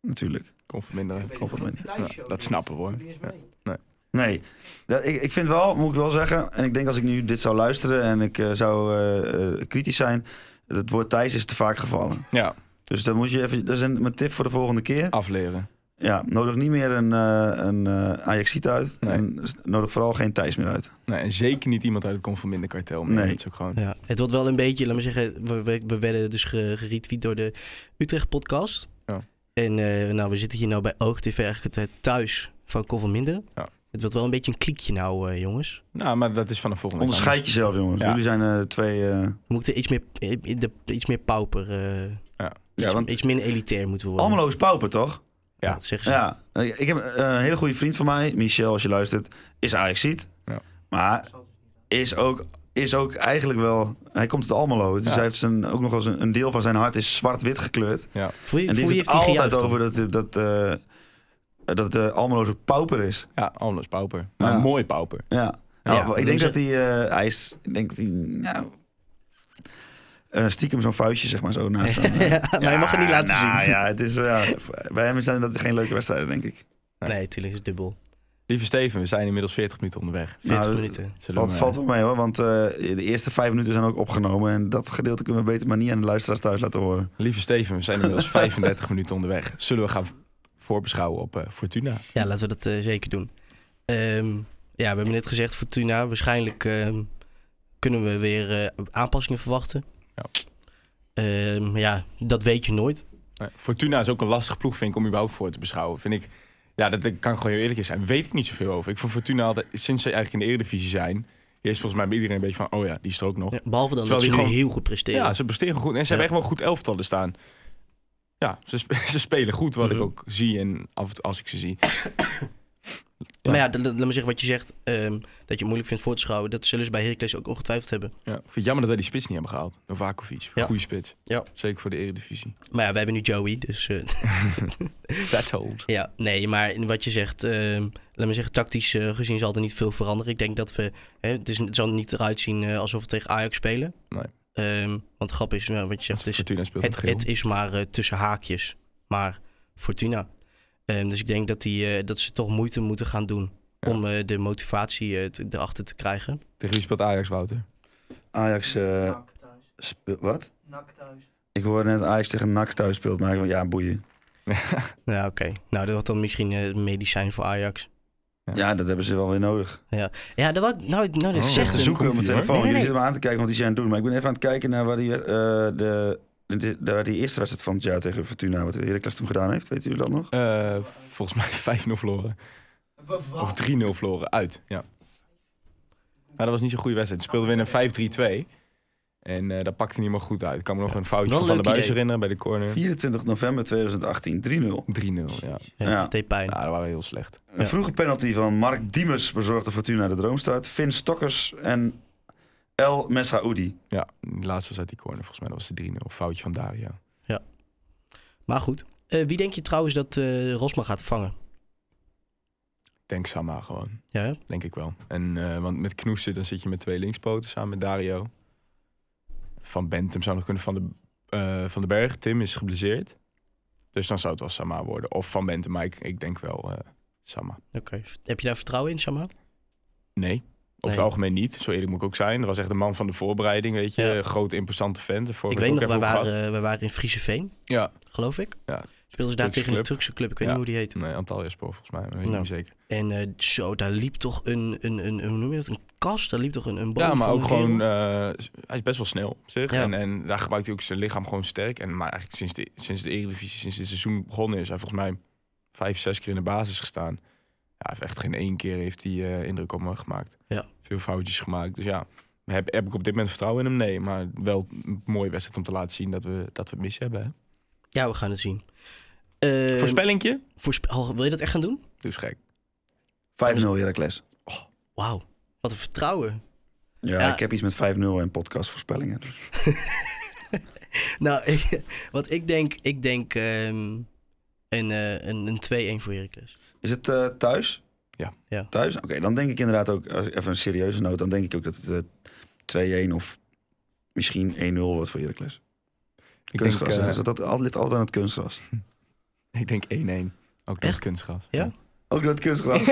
Natuurlijk.
Kom verminderen.
kon veel minder.
Ja, dat snappen we hoor. Ja.
Nee, dat, ik, ik vind wel, moet ik wel zeggen, en ik denk als ik nu dit zou luisteren en ik eh, zou eh, eh, kritisch zijn, het woord Thijs is te vaak gevallen.
Ja,
Dus dan moet je even, dat is een, mijn tip voor de volgende keer.
afleren.
Ja, nodig niet meer een, eh een eh, Ajaxiet uit.
Nee.
En s- nodig vooral geen Thijs meer uit.
Nee, en zeker niet iemand uit het Conforminder kartel. Nee.
Nee.
Dat is ook gewoon...
Ja, het wordt wel een beetje, laat me zeggen, we, we, we werden dus ge- geretweet door de Utrecht podcast.
Ja.
En eh, nou, we zitten hier nou bij OogTV eigenlijk het eh, thuis van Koffel Minder.
Ja.
Het wordt wel een beetje een kliekje nou, eh, jongens.
Nou, maar dat is vanaf volgende week
Onderscheid jezelf, jongens.
Ja.
Jullie zijn eh, twee... eh,
We moeten iets meer, eh, eh, de- iets meer pauper, eh,
ja,
iets,
want
iets minder elitair moeten worden.
Almelo is pauper, toch?
Ja,
Ja.
dat zeggen ze.
Ja. Eh, Ik heb eh, een hele goede vriend van mij, Michel, als je luistert, is Ajaxiet.
Ja.
Maar is ook, is ook eigenlijk wel... Hij komt uit Almelo. Dus
Ja.
hij heeft zijn, ook nog wel eens een, een deel van zijn hart is zwart-wit gekleurd.
Voor je,
En die
voor wie
heeft
heeft
het
hij
altijd
gejuicht
over
dan?
dat, dat, eh, dat de Almelo zo pauper is.
Ja, anders pauper. Maar
Ja.
een mooi pauper.
Ja. Nou,
Ja,
ik
dus
denk dat
het-
hij, eh, hij is, ik denk dat hij, nou, eh, stiekem zo'n vuistje zeg maar zo naast hem. eh.
Ja, maar je mag het niet laten
nou,
zien.
Ja, het is wel, ja, bij hem zijn dat geen leuke wedstrijden, denk ik.
Nee, tuurlijk is het dubbel.
Lieve Steven, we zijn inmiddels 40 minuten onderweg.
40
Nou,
minuten.
Zullen
Valt,
we-
valt wel mee hoor, want eh, de eerste vijf minuten zijn ook opgenomen. En dat gedeelte kunnen we beter maar niet aan de luisteraars thuis laten horen.
eh, Lieve Steven, we zijn inmiddels 35 minuten onderweg. Zullen we gaan voorbeschouwen op eh, Fortuna?
Ja, laten we dat eh, zeker doen. Ehm, ja, we hebben net gezegd, Fortuna, waarschijnlijk ehm, kunnen we weer eh, aanpassingen verwachten.
Ja.
Ehm, ja, dat weet je nooit.
Nee, Fortuna is ook een lastige ploeg, vind ik, om überhaupt voor te beschouwen. Vind ik, ja, dat dat kan ik gewoon heel eerlijk in zijn. Weet ik niet zoveel over. Ik vond Fortuna altijd, sinds ze eigenlijk in de Eredivisie zijn, is volgens mij bij iedereen een beetje van, oh ja, die is er ook nog.
Ja, behalve dan
Terwijl
dat
die
ze nu
gewoon-
heel goed presteren.
Ja, ze presteren goed. En ze
Ja.
hebben echt wel goed elftallen staan. Ja, ze, sp- ze spelen goed,
Mhm.
wat ik ook zie en af en toe als ik ze zie. Ja.
Maar ja, dat- dat- laat me zeggen wat je zegt. ehm, dat je het moeilijk vindt voor te schouwen. Dat zullen ze bij Heracles ook ongetwijfeld hebben.
Ja. Ik vind het jammer dat wij die spits niet hebben gehaald. Novakovic,
Ja.
goede spits.
Ja.
Zeker voor de eredivisie.
Maar ja, we hebben nu Joey, dus... eh,
Settled.
ja, nee, maar in wat je zegt... ehm, laat me zeggen, tactisch eh, gezien zal er niet veel veranderen. Ik denk dat we... Hè, het, is, het zal niet eruit zien eh, alsof we tegen Ajax spelen.
Nee.
Ehm, want de grap is, nou, wat je zegt, is,
Fortuna speelt het,
het, het is maar eh, tussen haakjes. Maar Fortuna. Ehm, dus ik denk dat, die, eh, dat ze toch moeite moeten gaan doen...
Ja.
om eh, de motivatie eh, te- erachter te krijgen.
Tegen wie speelt Ajax, Wouter?
Ajax, eh,
thuis.
spe- wat?
Nak thuis.
Ik hoorde net Ajax tegen NAC thuis speelt, maar ik dacht, ja, boeien.
Ja, oké. Nou, dat was dan misschien eh, een medicijn voor Ajax.
Ja, dat hebben ze wel weer nodig.
Ja, dat was, nou, nou, dat
Oh.
zegt
te
hem.
zoeken
komt-ie,
op mijn
hoor.
Nee, nee,
telefoon. Jullie
nee.
zitten me aan te kijken wat die zijn aan het doen. Maar ik ben even aan het kijken naar waar die, eh, de, de, de- waar die eerste wedstrijd van het jaar tegen Fortuna, wat Heracles toen gedaan heeft. Weet jullie dat nog?
Eh, volgens mij 5-0 verloren. Of 3-0 verloren, uit. Ja. Nou, dat was niet zo'n goede wedstrijd. Ze speelden weer een 5-3-2. En eh dat pakte niet meer goed uit. Ik kan me nog een foutje
Wel
van
een
Van de
leuk
Buis
idee.
herinneren bij de corner. 3-0,
24 november 2018, 3-0.
ja.
Ja,
Ja.
dat deed pijn.
Nou, dat waren heel slecht.
Een vroege penalty van Mark Diemers bezorgde Fortuna de droomstart. Finn Stokkers en El Messaoudi.
Ja, de laatste was uit die corner. Volgens mij dat was de 3-0. Foutje van Daria.
Maar goed. Eh, wie denk je trouwens dat eh Rosma gaat vangen?
Ik Denk Sama gewoon.
Ja, hè?
Denk ik wel. En, eh, want met Knoester dan zit je met twee linkspoten samen met Dario. Van Bentum zou nog kunnen. Van de, eh, van de Berg. Tim is geblesseerd. Dus dan zou het wel Sama worden. Of Van Bentum. Maar ik, ik denk wel eh, Sama.
Oké. Heb je daar vertrouwen in, Samar?
Nee. Op het
Nee.
algemeen niet. Zo eerlijk moet ik ook zijn. Dat was echt de man van de voorbereiding. Weet je.
Ja.
Groot, imposante vent. Daarvoor
Ik
heb
weet nog,
ook
wij
even over gehad.
waren, wij waren in Frieseveen,
Ja.
geloof ik.
Ja.
Speelden ze daar
Turkse
tegen
club.
een Turkse club, ik weet
Ja.
niet hoe die heet.
Nee, eh, Antalya Spoor volgens mij. maar Dat weet ik
Nou.
niet zeker.
En eh, zo, daar liep toch een, een, een, hoe noem je dat, een kast? Daar liep toch een, een boom
Ja, maar
van
ook
een
gewoon,
kerel?
eh, hij is best wel snel op zich.
Ja.
En, en daar gebruikt hij ook zijn lichaam gewoon sterk. En, maar eigenlijk sinds de, sinds de Eredivisie, sinds dit seizoen begonnen is, hij volgens mij vijf, zes keer in de basis gestaan. Ja, hij heeft echt geen één keer heeft hij eh, indruk op me gemaakt.
Ja.
Veel foutjes gemaakt. Dus ja, heb, heb ik op dit moment vertrouwen in hem? Nee, maar wel een mooie wedstrijd om te laten zien dat we, dat we het mis hebben. Hè?
Ja, we gaan het zien. Eh,
Voorspellingje?
voorspe- oh, wil je dat echt gaan doen?
Doe eens gek.
5-0 Heracles.
Wauw, wat een vertrouwen.
Ja,
Ja.
ik heb iets met 5-0 en podcastvoorspellingen. Dus.
Nou, ik, wat ik denk, ik denk ehm, een, eh, een, een 2-1 voor Heracles.
Is het eh, thuis?
Ja.
Ja.
Thuis? Oké, dan denk ik inderdaad ook, als ik even een serieuze noot, dan denk ik ook dat het eh, 2-1 of misschien 1-0 wordt voor Heracles.
Ik denk,
Kunstgras,
eh,
hè? Dus dat, dat ligt altijd aan het kunstgras.
ik denk 1-1. Ook door
Echt?
het kunstgras.
Ja?
Ook dat kunstgras.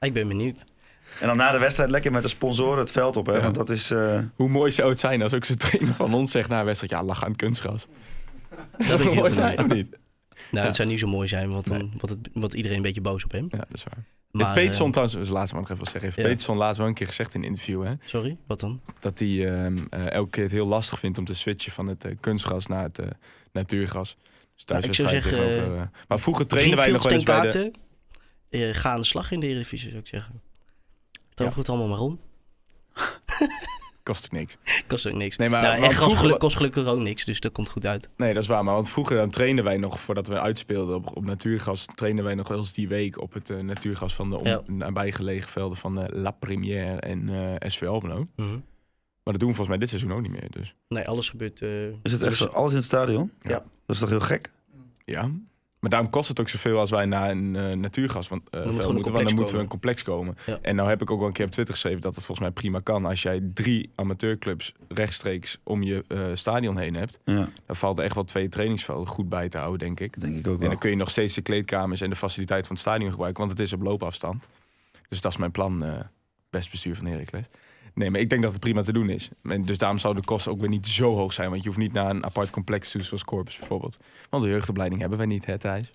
Ik ben benieuwd.
en dan na de wedstrijd lekker met de sponsoren het veld op, hè?
Ja.
Want dat is... eh,
Hoe mooi zou het zijn als ook zijn trainer van ons zegt na een wedstrijd... ja, lach aan het kunstgras. Dat
ben ik
zou
heel
mooi zijn, of
benieuwd.
niet?
Nou, het zou niet zo mooi zijn, want dan wordt, het, wordt iedereen een beetje boos op hem.
Ja, dat is waar.
Maar,
heeft Peterson
eh,
trouwens, dat is het laatste wat ik nog even wil zeggen. Heeft
Ja.
Peterson laatst wel een keer gezegd in een interview, hè?
sorry, wat dan?
Dat hij ehm, eh, elke keer het heel lastig vindt om te switchen van het eh, kunstgras naar het eh, natuurgras. Dus thuis
Nou, ik zou
wedstrijd
zeggen,
tegenover, eh, maar vroeger trainden wij nog wel eens bij de...
Greenfields ten Kate, eh, ga aan de slag in de Eredivisie, zou ik zeggen. Dan
Ja.
het allemaal maar om.
Kost ik niks.
Kost ook niks.
Nee, maar-
nou,
want
en gas
vroeger
geluk-
wa-
kost gelukkig ook niks, dus dat komt goed uit.
Nee, dat is waar. Maar want vroeger dan trainden wij nog, voordat we uitspeelden op, op natuurgras... trainden wij nog wel eens die week op het eh, natuurgras van de om,
Ja.
nabijgelegen velden van eh, La Première en eh SV Almelo.
Mhm.
Maar dat doen we volgens mij dit seizoen ook niet meer, dus
Nee, alles gebeurt... eh,
Is het echt zo? Alles in het stadion?
Ja.
Dat is toch heel gek?
ja... Maar daarom kost het ook zoveel als wij naar een eh, natuurgas want, eh, veld
gewoon
moeten, want
een complex
dan moeten we
komen.
een complex komen.
Ja.
En nou heb ik ook al een keer op Twitter geschreven dat het volgens mij prima kan. Als jij drie amateurclubs rechtstreeks om je eh, stadion heen hebt,
Ja,
dan valt er echt wel twee trainingsvelden goed bij te houden, denk ik.
dat denk ik ook
En
wel.
dan kun je nog steeds de kleedkamers en de faciliteit van het stadion gebruiken, want het is op loopafstand. Dus dat is mijn plan, eh, best bestuur van Heracles. Nee, maar ik denk dat het prima te doen is. En dus daarom zouden de kosten ook weer niet zo hoog zijn, want je hoeft niet naar een apart complex toe, zoals Corpus bijvoorbeeld. Want de jeugdopleiding hebben wij niet, hè Thijs?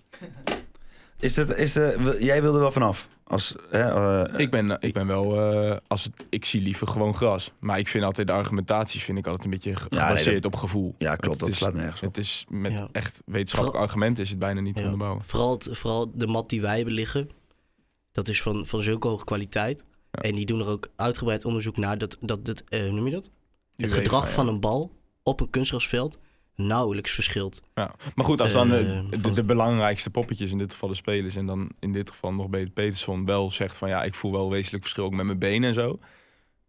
Is dit, is de, wil- jij wilde wel vanaf? Als, hè, eh,
Ik ben, ik ben wel, eh, als het, ik zie liever gewoon gras. Maar ik vind altijd de argumentatie vind ik altijd een beetje ge-
nee,
gebaseerd op gevoel.
ja,
Want
klopt.
het
Dat
is-
slaat nergens op.
Het is met
Ja.
echt wetenschappelijk argument is het bijna niet te
Ja.
onderbouwen.
Vooral, het- vooral de mat die wij hebben liggen, dat is van, van zulke hoge kwaliteit. En die doen er ook uitgebreid onderzoek naar dat, dat, dat eh, hoe noem je dat? het
UEFA,
gedrag
ja.
van een bal op een kunstgrasveld nauwelijks verschilt.
Ja. Maar goed, als dan eh,
Eh,
de,
van-
de belangrijkste poppetjes, in dit geval de spelers, en dan in dit geval nog Peter Peterson wel zegt van ja, ik voel wel wezenlijk verschil ook met mijn benen en zo.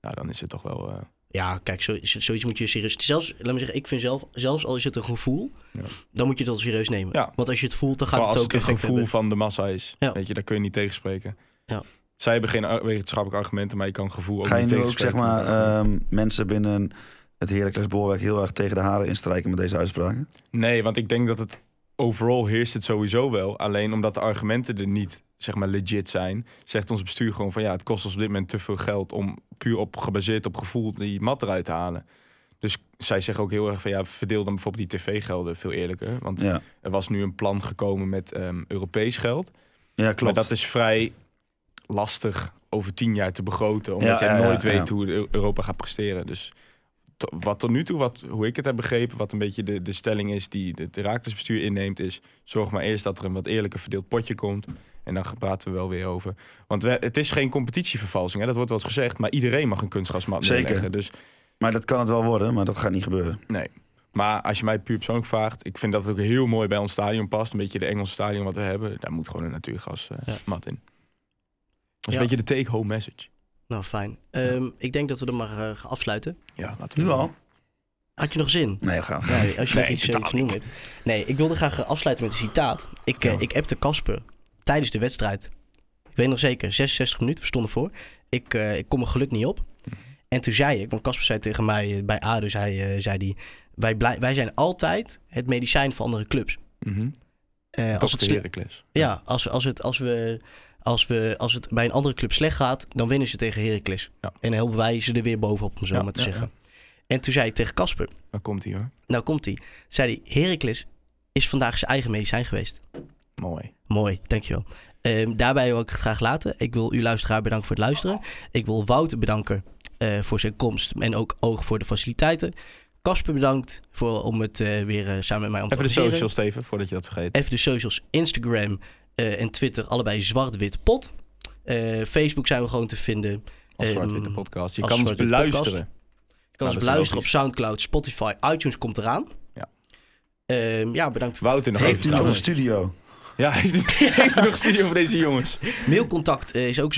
Nou, dan is het toch wel. eh,
Ja, kijk, zo, zo- zoiets moet je serieus... Zelfs, laat me zeggen, ik vind zelf, zelfs al is het een gevoel,
Ja.
dan moet je dat serieus nemen.
Ja.
Want als je het voelt, dan gaat
maar
het
als
ook
het een
effect
gevoel
hebben.
van de massa is,
Ja.
weet je, daar kun je niet tegenspreken.
Ja.
Zij hebben geen ar- wetenschappelijke argumenten, maar je kan gevoel ook
Ga je
niet
nu ook zeg
tegenspreken met
maar
argumenten.
ehm, mensen binnen het Heracles Bolwerk heel erg tegen de haren instrijken met deze uitspraken?
Nee, want ik denk dat het overal heerst het sowieso wel. Alleen omdat de argumenten er niet zeg maar legit zijn, zegt ons bestuur gewoon van ja, het kost ons op dit moment te veel geld om puur op gebaseerd op gevoel die mat eruit te halen. Dus zij zeggen ook heel erg van ja, verdeel dan bijvoorbeeld die tv-gelden veel eerlijker. Want
Ja,
er was nu een plan gekomen met ehm, Europees geld.
ja klopt.
Maar dat is vrij lastig over tien jaar te begroten. Omdat
Ja,
je
ja,
nooit
ja,
weet
ja.
hoe Eu- Europa gaat presteren. Dus to- wat tot nu toe, wat, hoe ik het heb begrepen, wat een beetje de, de stelling is die het Raakles-bestuur inneemt, is zorg maar eerst dat er een wat eerlijker verdeeld potje komt. En dan praten we wel weer over. Want we- het is geen competitievervalsing, hè? dat wordt wel eens gezegd. Maar iedereen mag een kunstgrasmat
Zeker.
neerleggen. Dus,
Maar dat kan het wel worden, maar dat gaat niet gebeuren.
maar als je mij puur persoonlijk vraagt, ik vind dat het ook heel mooi bij ons stadion past. Een beetje de Engelse stadion wat we hebben. Daar moet gewoon een natuurgasmat
Ja.
mat in. Dat is
Ja.
een beetje de take-home message.
Nou, fijn. Ehm, Ik denk dat we er maar eh, gaan afsluiten.
Ja, laten
Nu al?
Had je nog zin?
Nee, gaan.
Ja, als je
Nee,
nog iets, eh,
totaal
iets te noemen hebt. Nee, ik wilde graag eh, afsluiten met een citaat. Ik, eh, ik appte Casper tijdens de wedstrijd. Ik weet nog zeker, 66 minuten, we stonden voor. Ik, eh, ik kon mijn geluk niet op. En toen zei ik, want Casper zei tegen mij eh, bij ADO, zei, eh, zei die, wij, blij- wij zijn altijd het medicijn van andere clubs.
Mhm.
Eh, als, het sle-
Heracles.
ja, als, als, het, als, we, als, we, als het bij een andere club slecht gaat, dan winnen ze tegen Heracles.
Ja.
En dan helpen wij ze er weer bovenop, om zo
Ja,
maar te
ja,
zeggen. En toen zei ik tegen Casper,
Waar komt hij hoor?
nou komt hij. Zei hij, Heracles is vandaag zijn eigen medicijn geweest.
Mooi.
Mooi, dankjewel. Ehm, daarbij wil ik het graag laten. Ik wil u luisteraar bedanken voor het luisteren. Ik wil Wouter bedanken eh, voor zijn komst en ook oog voor de faciliteiten. Casper bedankt voor, om het eh, weer eh, samen met mij om te
Even de
organiseren.
socials, Steven, voordat je dat vergeet.
Even de socials, Instagram eh, en Twitter, allebei zwart-wit pot. Eh, Facebook zijn we gewoon te vinden.
Als
Ehm,
zwart-witte podcast. Je
als
kan ons
Zwart-Witte Podcast.
beluisteren.
Je kan
Nou,
ons
dat is
beluisteren op Soundcloud, Spotify, iTunes komt eraan.
Ja.
Ehm, ja, bedankt voor
Wouter nog
Heeft u
even
nog een
trouwens.
studio?
Ja, heeft, heeft u nog een studio voor deze jongens?
Mailcontact eh, is ook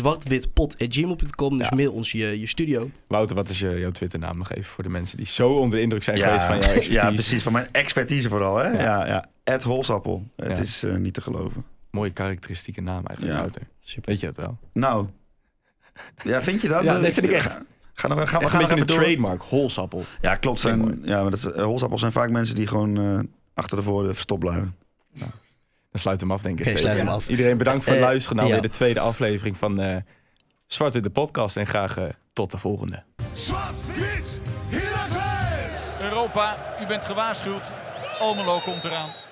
zwartwitpot.gmail.com. Dus
Ja.
mail ons je, je studio.
Wouter, wat is je, jouw Twitternaam nog even voor de mensen die zo onder de indruk zijn geweest van jouw
ja,
expertise?
precies. Van mijn expertise vooral. Hè? Ja, ja. Ed Holsappel. Het
Ja.
is eh, niet te geloven.
Mooie karakteristieke naam eigenlijk,
Ja.
Wouter.
Super.
Weet je dat wel?
Nou. Ja, vind je dat?
Ja, dat vind ik echt.
Ga, ga nog, ga,
Echt
Nou, we gaan nog
een
even
beetje
door.
een trademark, holsappel.
Ja, klopt.
Vind
Zijn, ja, maar dat, is- eh, Holsappels zijn vaak mensen die gewoon eh, achter de voordeur verstopt blijven.
Dan sluit hem af, denk ik.
Oké,
Steven.
sluit hem af.
Iedereen bedankt voor het
Eh,
luisteren naar
ja.
weer de tweede aflevering van eh Zwart in de podcast. En graag eh, tot de volgende.
Zwart-wit Heracles!
Europa, u bent gewaarschuwd. Almelo komt eraan.